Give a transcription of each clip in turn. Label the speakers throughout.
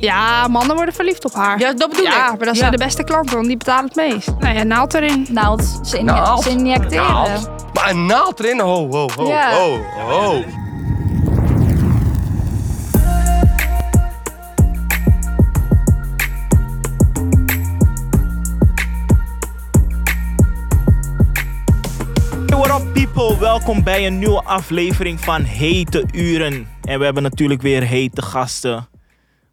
Speaker 1: Ja, mannen worden verliefd op haar.
Speaker 2: Ja, dat bedoel
Speaker 1: Ja,
Speaker 2: ik.
Speaker 1: maar Eh, dat
Speaker 2: Ja.
Speaker 1: zijn de beste klanten, want die betalen het meest. Nou ja, naald erin.
Speaker 3: Naald. Ze, in-
Speaker 4: Naald.
Speaker 3: ze injecteren.
Speaker 4: Naald. Maar een naald erin? Ho, ho, ho,
Speaker 3: Ja.
Speaker 4: ho, ho.
Speaker 5: Hey, what up people, welkom bij een nieuwe aflevering van Hete Uren. En we hebben natuurlijk weer hete gasten.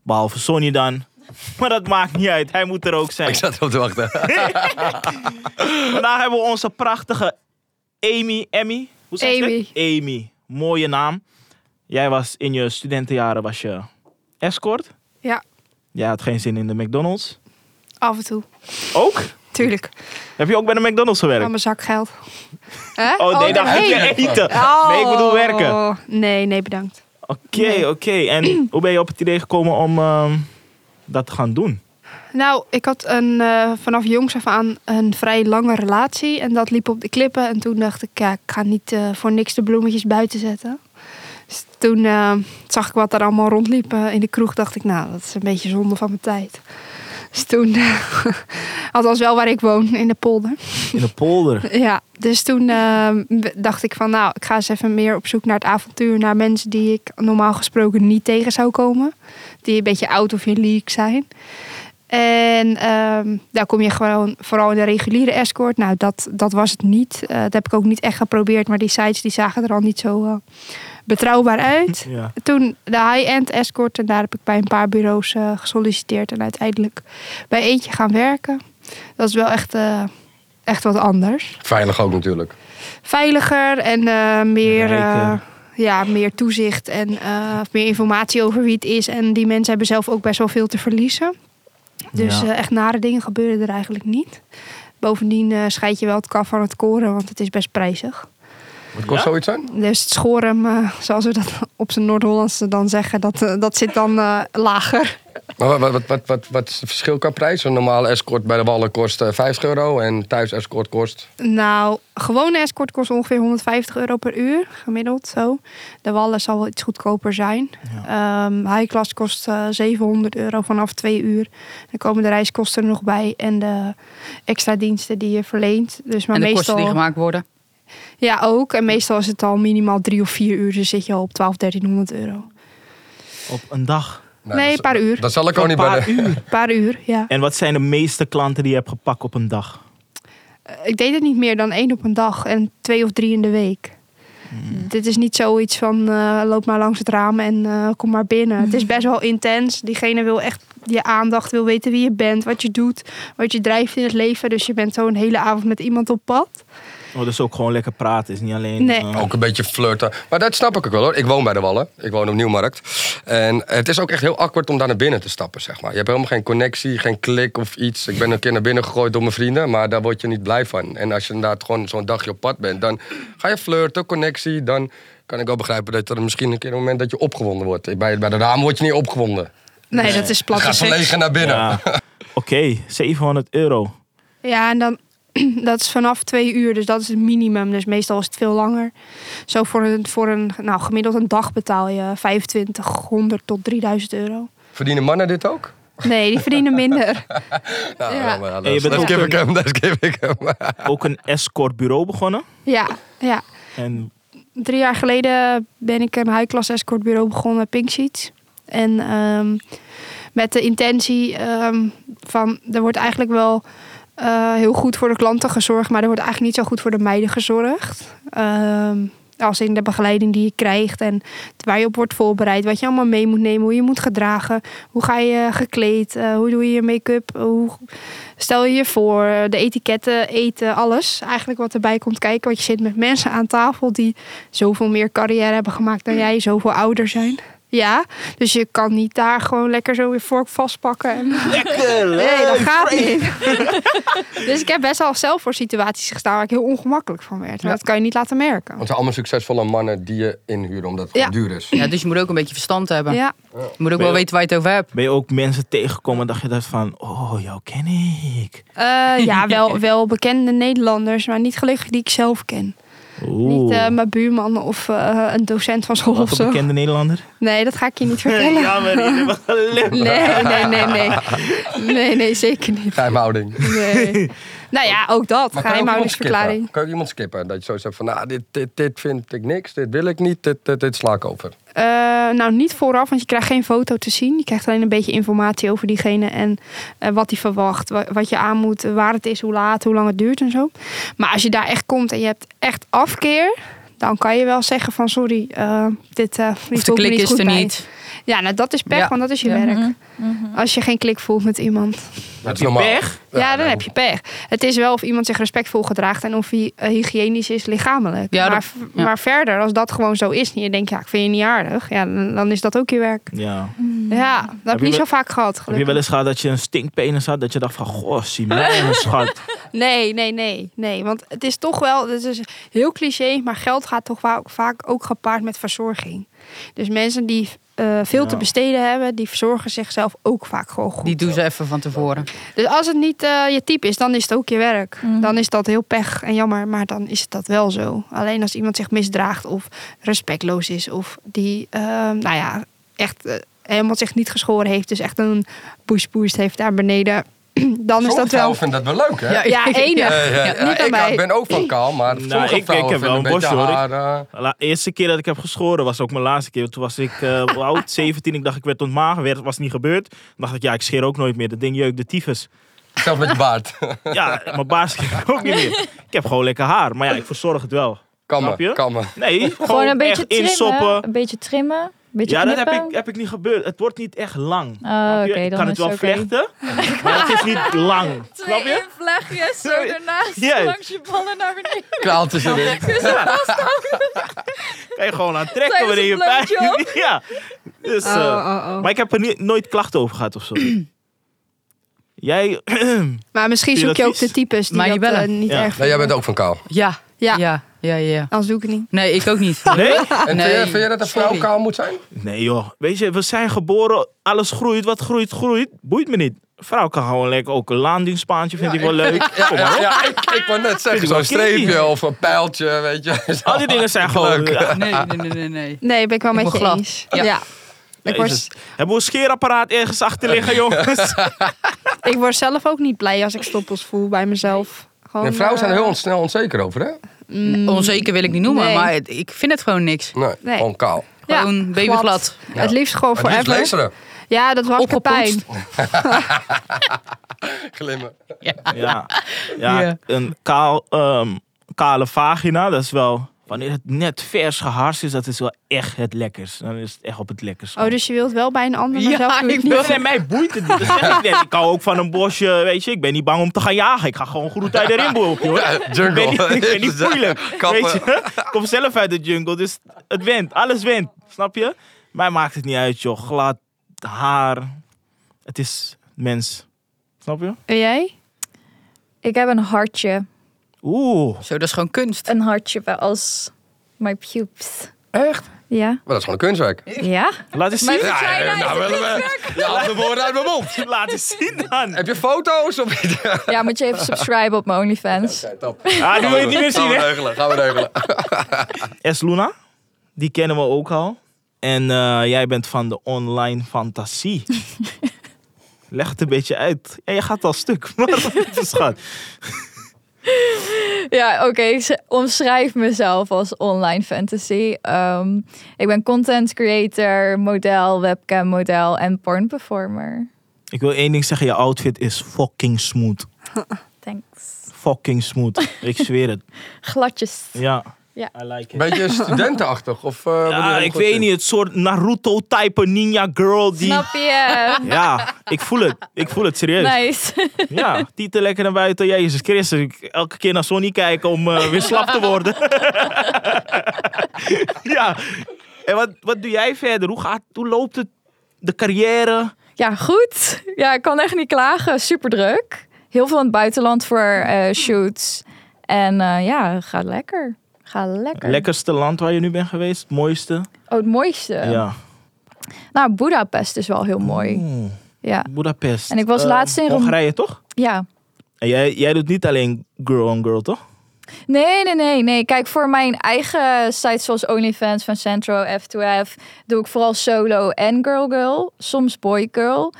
Speaker 5: Behalve Sonny dan. Maar dat maakt niet uit, hij moet er ook zijn.
Speaker 4: Ik zat erop te wachten.
Speaker 5: Vandaag hebben we onze prachtige Amy. Emmy? Hoe zeg je het? Amy. Mooie naam. Jij was in je studentenjaren was je escort.
Speaker 1: Ja,
Speaker 5: Jij had geen zin in de McDonald's.
Speaker 1: af en toe.
Speaker 5: Ook?
Speaker 1: Tuurlijk.
Speaker 5: Heb je ook bij de McDonald's
Speaker 1: Aan
Speaker 5: gewerkt?
Speaker 1: mijn zak geld. Hè?
Speaker 5: Oh nee, Oh. daar heb je eten. Nee, ik bedoel werken.
Speaker 1: Oh, Nee, nee, bedankt.
Speaker 5: Oké, oké. En hoe ben je op het idee gekomen om ehm, dat te gaan doen?
Speaker 1: Nou, ik had een, eh, vanaf jongs af aan een vrij lange relatie. En dat liep op de klippen. En toen dacht ik, ja, ik ga niet eh, voor niks de bloemetjes buiten zetten. Dus toen eh, zag ik wat er allemaal rondliep eh, in de kroeg. Dacht ik, nou, dat is een beetje zonde van mijn tijd. Dus toen, eh, althans wel waar ik woon, in de polder.
Speaker 5: In de polder.
Speaker 1: Ja, dus toen eh, dacht ik van nou, ik ga eens even meer op zoek naar het avontuur. Naar mensen die ik normaal gesproken niet tegen zou komen. Die een beetje out of your league zijn. En ehm, daar kom je gewoon vooral in de reguliere escort. Nou, dat, dat was het niet. Eh, dat heb ik ook niet echt geprobeerd. Maar die sites die zagen er al niet zo eh, betrouwbaar uit.
Speaker 5: Ja.
Speaker 1: Toen de high-end escort. En daar heb ik bij een paar bureaus eh, gesolliciteerd. En uiteindelijk bij eentje gaan werken. Dat is wel echt, eh, echt wat anders
Speaker 4: Veilig ook natuurlijk.
Speaker 1: veiliger en eh, meer,
Speaker 5: Rijker.
Speaker 1: eh, ja, meer toezicht en eh, meer informatie over wie het is. En die mensen hebben zelf ook best wel veel te verliezen. Dus
Speaker 5: Ja.
Speaker 1: eh, echt nare dingen gebeuren er eigenlijk niet. Bovendien eh, scheid je wel het kaf van het koren, want het is best prijzig.
Speaker 4: Wat kost zoiets zijn?
Speaker 1: Dus het schorem, eh, zoals we dat op zijn Noord-Hollandse dan zeggen, dat, eh, dat zit dan eh, lager.
Speaker 4: Maar wat, wat, wat, wat, wat is het verschil qua prijs? Een normale escort bij de Wallen kost eh, 50 euro en thuis escort kost...
Speaker 1: Nou, gewone escort kost ongeveer 150 euro per uur, gemiddeld zo. De wallen zal wel iets goedkoper zijn. Ehm high class kost eh, 700 euro vanaf twee uur. Dan komen de reiskosten er nog bij en de extra diensten die je verleent. Dus maar
Speaker 2: en de kosten
Speaker 1: meestal,
Speaker 2: die gemaakt worden.
Speaker 1: Ja, ook. En meestal is het al minimaal drie of vier uur. Dus zit je al op 12, 1300 euro.
Speaker 5: Op een dag.
Speaker 1: nee,
Speaker 4: Nou, dat
Speaker 1: een paar
Speaker 4: is-
Speaker 1: uur.
Speaker 4: Dat zal ik ook
Speaker 5: Een
Speaker 4: niet bij
Speaker 5: paar
Speaker 4: de...
Speaker 5: uur.
Speaker 1: paar uur, ja.
Speaker 5: En wat zijn de meeste klanten die je hebt gepakt op een dag?
Speaker 1: ik deed het niet meer dan één op een dag en twee of drie in de week. Dit is niet zoiets van eh, loop maar langs het raam en eh, kom maar binnen. Het is best wel intens. Diegene wil echt je aandacht, wil weten wie je bent, wat je doet, wat je drijft in het leven. Dus je bent zo een hele avond met iemand op pad.
Speaker 5: Oh, dus ook gewoon lekker praten. Is niet alleen.
Speaker 1: Nee.
Speaker 5: eh,
Speaker 4: Ook een beetje flirten. Maar dat snap ik ook wel hoor. Ik woon bij de Wallen. Ik woon op Nieuwmarkt. En het is ook echt heel awkward om daar naar binnen te stappen, zeg maar. Je hebt helemaal geen connectie, geen klik of iets. Ik ben een keer naar binnen gegooid door mijn vrienden, maar daar word je niet blij van. En als je inderdaad gewoon zo'n dagje op pad bent, dan ga je flirten, connectie. Dan kan ik wel begrijpen dat er misschien een keer een moment dat je opgewonden wordt. Bij, bij de raam word je niet opgewonden.
Speaker 1: Nee, dat is
Speaker 4: Je
Speaker 1: platte
Speaker 4: gaat
Speaker 1: seks.
Speaker 4: verlegen naar binnen.
Speaker 5: ja. Oké, 700 euro.
Speaker 1: Ja, en dan dat is vanaf twee uur, dus dat is het minimum. Dus meestal is het veel langer. Zo voor een, voor een nou, gemiddeld een dag betaal je 2500 tot 3000 euro.
Speaker 4: Verdienen mannen dit ook?
Speaker 1: Nee, die verdienen minder.
Speaker 4: Nou,
Speaker 1: Ja.
Speaker 4: nou, maar
Speaker 5: En je
Speaker 4: dat-
Speaker 5: bent
Speaker 4: dat
Speaker 5: ook
Speaker 4: geef
Speaker 5: een-
Speaker 4: ik hem, dat geef ik hem.
Speaker 5: Ook een escortbureau begonnen.
Speaker 1: Ja, ja.
Speaker 5: En
Speaker 1: Drie jaar geleden ben ik eh, een high-class escortbureau begonnen, Pink Sheets. En ehm, met de intentie ehm, van, er wordt eigenlijk wel eh, heel goed voor de klanten gezorgd, maar er wordt eigenlijk niet zo goed voor de meiden gezorgd. Ehm, als in de begeleiding die je krijgt en waar je op wordt voorbereid, wat je allemaal mee moet nemen, hoe je moet gedragen, hoe ga je gekleed, eh, hoe doe je je make-up, hoe stel je je voor, de etiketten, eten, alles. Eigenlijk wat erbij komt kijken, want je zit met mensen aan tafel die zoveel meer carrière hebben gemaakt dan jij, zoveel ouder zijn. Ja, dus je kan niet daar gewoon lekker zo je vork vastpakken. En... Nee, dat gaat niet. dus ik heb best wel zelf voor situaties gestaan waar ik heel ongemakkelijk van werd. Maar dat kan je niet laten merken.
Speaker 4: Want het zijn allemaal succesvolle mannen die je inhuren omdat het
Speaker 1: Ja.
Speaker 4: gewoon duur is.
Speaker 2: Ja, dus je moet ook een beetje verstand hebben.
Speaker 1: Ja,
Speaker 2: Je moet ook wel
Speaker 5: je-
Speaker 2: weten waar je het over hebt.
Speaker 5: ben je ook mensen tegengekomen en dacht je dat van, oh, jou ken ik.
Speaker 1: Eh, ja wel, wel bekende Nederlanders, maar niet gelukkig die ik zelf ken. Niet
Speaker 5: Oeh.
Speaker 1: eh, mijn buurman of eh, een docent van school
Speaker 5: Wat
Speaker 1: of
Speaker 5: een
Speaker 1: zo.
Speaker 5: bekende Nederlander.
Speaker 1: Nee, dat ga ik je niet vertellen.
Speaker 5: Jammer, jullie hebben geleerd.
Speaker 1: Nee, nee, nee, nee. Nee, nee, zeker niet.
Speaker 4: Geheimhouding.
Speaker 1: Nee. Nou ja, ook dat.
Speaker 4: Maar kan je ook iemand
Speaker 1: Geheimhoudingsverklaring.
Speaker 4: skippen? Kan je ook iemand skippen? Dat je zo zegt van, nou, dit, dit, dit vind ik niks, dit wil ik niet, dit, dit, dit sla ik over.
Speaker 1: Eh, nou, niet vooraf, want je krijgt geen foto te zien. Je krijgt alleen een beetje informatie over diegene en eh, wat hij verwacht. wa- wat je aan moet, waar het is, hoe laat, hoe lang het duurt en zo. Maar als je daar echt komt en je hebt echt afkeer... dan kan je wel zeggen van sorry, eh, dit, eh
Speaker 2: Of
Speaker 1: dit
Speaker 2: de
Speaker 1: voelt me
Speaker 2: klik
Speaker 1: niet
Speaker 2: is
Speaker 1: goed
Speaker 2: er
Speaker 1: bij.
Speaker 2: niet.
Speaker 1: Ja, nou dat is pech,
Speaker 2: Ja.
Speaker 1: want dat is je
Speaker 2: Ja. Mhm.
Speaker 1: werk. Als je geen klik voelt met iemand.
Speaker 4: Dat is
Speaker 5: je
Speaker 4: normaal.
Speaker 5: pech?
Speaker 1: Ja, dan heb je pech. Het is wel of iemand zich respectvol gedraagt en of hij eh, hygiënisch is lichamelijk.
Speaker 2: Ja, dat-
Speaker 1: maar, v-
Speaker 2: ja.
Speaker 1: maar verder, als dat gewoon zo is en je denkt, ja, ik vind je niet aardig, ja, dan, dan is dat ook je werk.
Speaker 5: Ja.
Speaker 1: Ja, dat heb
Speaker 5: je
Speaker 1: ik niet
Speaker 5: wel-
Speaker 1: zo vaak gehad.
Speaker 5: Heb je wel
Speaker 1: gelukkig.
Speaker 5: eens gehad dat je een stinkpenis had? Dat je dacht van, goh, zie mij mijn schat.
Speaker 1: Nee, nee, nee, nee. Want het is toch wel, het is heel cliché, maar geld gaat toch wa- vaak ook gepaard met verzorging. Dus mensen die eh, veel te
Speaker 5: Ja.
Speaker 1: besteden hebben, die verzorgen zichzelf ook vaak gewoon goed.
Speaker 2: Die doen ze even van tevoren.
Speaker 1: Dus als het niet eh, je type is, dan is het ook je werk.
Speaker 2: Mhm.
Speaker 1: Dan is dat heel pech en jammer, maar dan is het dat wel zo. Alleen als iemand zich misdraagt of respectloos is of die, eh, nou ja, echt eh, helemaal zich niet geschoren heeft, dus echt een poespoest heeft daar beneden, dan is dat wel.
Speaker 4: vindt dat wel leuk, hè?
Speaker 2: Ja,
Speaker 1: Ja, enig.
Speaker 4: Eh, ja,
Speaker 1: niet aan
Speaker 4: ik
Speaker 1: mij.
Speaker 4: ben ook van kaal, maar
Speaker 5: Nou,
Speaker 4: sommige
Speaker 5: ik- ik
Speaker 4: vrouwen
Speaker 5: heb wel
Speaker 4: vinden
Speaker 5: een
Speaker 4: beetje
Speaker 5: borst, hoor.
Speaker 4: haar... eh,
Speaker 5: De eerste keer dat ik heb geschoren was ook mijn laatste keer. Toen was ik eh, hoe oud, 17. Ik dacht, ik werd ontmaagd. Werd, was niet gebeurd. Dan dacht ik, ja, ik scheer ook nooit meer. Dat ding jeukt de tyfus.
Speaker 4: zelf met je baard.
Speaker 5: Ja, mijn baas scheert ook niet meer. Ik heb gewoon lekker haar. Maar ja, ik verzorg het wel. Snap je?
Speaker 4: Kammen, kammen.
Speaker 5: Nee, gewoon,
Speaker 3: Gewoon een beetje
Speaker 5: echt insoppen.
Speaker 3: trimmen. Een beetje trimmen. Een beetje
Speaker 5: Ja, dat heb
Speaker 3: knippen.
Speaker 5: ik, heb ik niet gebeurd. Het wordt niet echt lang.
Speaker 3: Oh,
Speaker 5: Snap je?
Speaker 3: oké,
Speaker 5: ik
Speaker 3: dan
Speaker 5: kan het
Speaker 3: is
Speaker 5: wel
Speaker 3: het oké.
Speaker 5: vlechten, maar het is niet lang. Snap je?
Speaker 3: vlagjes zo
Speaker 5: Sorry.
Speaker 3: daarnaast
Speaker 5: Jij.
Speaker 3: langs je ballen naar beneden.
Speaker 4: Kraaltjes erin.
Speaker 5: Kan je gewoon aan trekken
Speaker 3: Tijdens
Speaker 5: wanneer je
Speaker 3: een
Speaker 5: pijn
Speaker 3: blowjob.
Speaker 5: Ja. Dus, eh,
Speaker 1: Oh, oh, oh.
Speaker 5: Maar ik heb er niet, nooit klachten over gehad of zo. Jij,
Speaker 1: Maar misschien
Speaker 5: Vind je
Speaker 1: zoek je
Speaker 5: dat
Speaker 1: ook de
Speaker 5: vies?
Speaker 1: types die
Speaker 2: Maar je
Speaker 1: dat
Speaker 2: bellen.
Speaker 1: eh, niet
Speaker 5: Ja.
Speaker 1: erg
Speaker 4: Nee, jij
Speaker 1: vinden.
Speaker 4: bent ook van kaal.
Speaker 1: Ah,
Speaker 2: Ja.
Speaker 1: Ja.
Speaker 2: Ja. Ja, ja, ja.
Speaker 1: Anders doe ik het niet.
Speaker 2: Nee, ik ook niet.
Speaker 5: nee?
Speaker 4: En
Speaker 2: Nee.
Speaker 4: vind, je, vind je dat een vrouw
Speaker 2: Sorry.
Speaker 4: kaal moet zijn?
Speaker 5: Nee joh, weet je, we zijn geboren, alles groeit, wat groeit, groeit. Boeit me niet. Een vrouw kan gewoon lekker ook een laandingspaantje, vind ik wel leuk.
Speaker 4: Ja, ja, ja, ik, ik wou net zeggen,
Speaker 5: Vind ik wel
Speaker 4: zo'n streepje
Speaker 5: kinky.
Speaker 4: of een pijltje, weet je.
Speaker 5: Al die dingen zijn gewoon... eh,
Speaker 4: Leuk.
Speaker 5: Ja,
Speaker 2: Nee, nee, nee, nee. nee.
Speaker 1: Nee, ben ik wel
Speaker 2: Ik
Speaker 1: met
Speaker 2: word
Speaker 1: je
Speaker 2: glad.
Speaker 1: eens. Ja.
Speaker 2: Ja.
Speaker 1: Ik,
Speaker 5: Jezus.
Speaker 1: word,
Speaker 5: Hebben we een scheerapparaat ergens achter liggen, jongens?
Speaker 1: ik word zelf ook niet blij als ik stoppels voel bij mezelf. Gewoon,
Speaker 4: En vrouwen zijn er
Speaker 1: eh,
Speaker 4: heel on- snel onzeker over, hè?
Speaker 1: mm,
Speaker 2: Onzeker wil ik niet noemen,
Speaker 1: Nee.
Speaker 2: maar het- ik vind het gewoon niks.
Speaker 4: Nee,
Speaker 1: Nee.
Speaker 4: gewoon kaal.
Speaker 1: Ja,
Speaker 2: Gewoon babyglad.
Speaker 4: Ja.
Speaker 1: Het liefst gewoon
Speaker 4: Maar
Speaker 1: voor
Speaker 4: niet lezen.
Speaker 1: Ja, dat was ik
Speaker 2: Opgepomst.
Speaker 1: pijn.
Speaker 4: Glimmen.
Speaker 5: ja, ja
Speaker 2: Ja.
Speaker 5: een kaal, ehm, kale vagina, dat is wel... Wanneer het net vers geharst is, dat is wel echt het lekkers. Dan is het echt op het lekkers.
Speaker 1: Oh, dus je wilt wel bij een ander, maar
Speaker 2: Ja,
Speaker 1: zelf doe je het
Speaker 2: ik
Speaker 1: niet.
Speaker 5: Nee, nee, mij boeit het niet. Dat zeg ik, net. ik hou ook van een bosje, weet je. Ik ben niet bang om te gaan jagen. Ik ga gewoon goed uit de rimboek, hoor. Ik ben niet,
Speaker 4: jungle.
Speaker 5: ik ben niet moeilijk.
Speaker 4: Kappen.
Speaker 5: Weet je? Ik kom zelf uit de jungle, dus het went. Alles went. Snap je? Mij maakt het niet uit, joh. Glad, haar. Het is mens. Snap je?
Speaker 1: En jij?
Speaker 3: Ik heb een hartje.
Speaker 5: Oeh.
Speaker 2: Zo, dat is gewoon kunst.
Speaker 3: Een hartje bij als my pubes.
Speaker 4: Echt?
Speaker 3: Ja?
Speaker 4: Maar dat is gewoon een kunstwerk.
Speaker 3: Ja?
Speaker 5: Laat eens zien.
Speaker 4: Ja, ja, nou willen
Speaker 5: eh,
Speaker 4: we. Je haalt de woorden uit mijn mond.
Speaker 5: Laat eens zien dan.
Speaker 4: Heb je foto's? Of...
Speaker 3: Ja, moet je even subscriben op mijn OnlyFans.
Speaker 4: Ja, top.
Speaker 5: Ah, die wil je niet meer zien,
Speaker 4: Gaan we
Speaker 5: hè?
Speaker 4: regelen, gaan we regelen.
Speaker 5: S. Luna, die kennen we ook al. En eh, jij bent van de online fantasie. Leg het een beetje uit. Ja, je gaat al stuk. Maar schat.
Speaker 3: Ja, oké. ik z- omschrijf mezelf als online fantasy. Ehm, ik ben content creator, model, webcam model en porn performer.
Speaker 5: Ik wil één ding zeggen. Je outfit is fucking smooth.
Speaker 3: Thanks.
Speaker 5: Fucking smooth. Ik zweer het.
Speaker 3: Gladjes.
Speaker 5: Ja.
Speaker 3: Ja.
Speaker 5: I like it.
Speaker 4: Beetje studentenachtig? Of, eh, wanneer
Speaker 5: Ja,
Speaker 4: heb je
Speaker 5: ik
Speaker 4: goed
Speaker 5: weet
Speaker 4: zin?
Speaker 5: niet. Het soort Naruto-type ninja girl die...
Speaker 3: Snap je?
Speaker 5: Ja, ik voel het. Ik voel het serieus.
Speaker 3: Nice.
Speaker 5: Ja, tieten lekker naar buiten. Jezus Christus, ik- elke keer naar Sonny kijken om eh, weer slap te worden. ja. En wat, wat doe jij verder? Hoe, gaat, hoe loopt het? De carrière?
Speaker 3: Ja, goed. Ja, ik kan echt niet klagen. Super druk. Heel veel in het buitenland voor eh, shoots. En eh, ja, gaat lekker. Ga lekker.
Speaker 5: Lekkerste land waar je nu bent geweest? Het mooiste?
Speaker 3: Oh, het mooiste.
Speaker 5: ja.
Speaker 3: Nou, Budapest is wel heel mooi.
Speaker 5: Oeh,
Speaker 3: Ja,
Speaker 5: Budapest.
Speaker 3: En ik was
Speaker 5: Eh,
Speaker 3: laatst in Rom-
Speaker 5: Hongarije, toch?
Speaker 3: ja.
Speaker 5: En jij, jij doet niet alleen girl on girl, toch?
Speaker 3: Nee, nee, nee, nee. Kijk, voor mijn eigen sites zoals OnlyFans, van Centro, F2F, doe ik vooral solo en girl girl. Soms boy girl.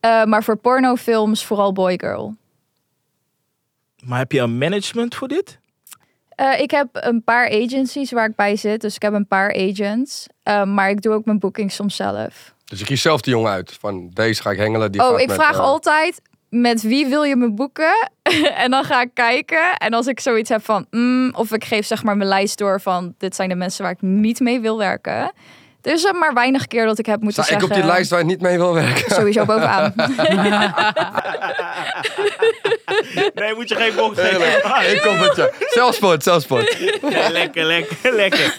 Speaker 3: Eh, maar voor pornofilms vooral boy girl.
Speaker 5: Maar heb je een management voor dit?
Speaker 3: Eh, ik heb een paar agencies waar ik bij zit. Dus ik heb een paar agents. Eh, maar ik doe ook mijn booking soms zelf.
Speaker 4: Dus ik kies zelf de jongen uit. Van deze ga ik hengelen. Die ga
Speaker 3: oh, ik
Speaker 4: met,
Speaker 3: vraag
Speaker 4: eh,
Speaker 3: altijd met wie wil je me boeken? en dan ga ik kijken. En als ik zoiets heb van, mm, of ik geef zeg maar mijn lijst door van, dit zijn de mensen waar ik niet mee wil werken. Er is er maar weinig keer dat ik heb
Speaker 4: Sta
Speaker 3: moeten
Speaker 4: ik
Speaker 3: zeggen.
Speaker 4: op die lijst waar je niet mee wil werken?
Speaker 3: Sowieso bovenaan.
Speaker 5: Nee, moet je geen bocht
Speaker 4: Heerlijk. ik kom met je. Zelfspot, zelfspot.
Speaker 5: lekker, lekker, lekker.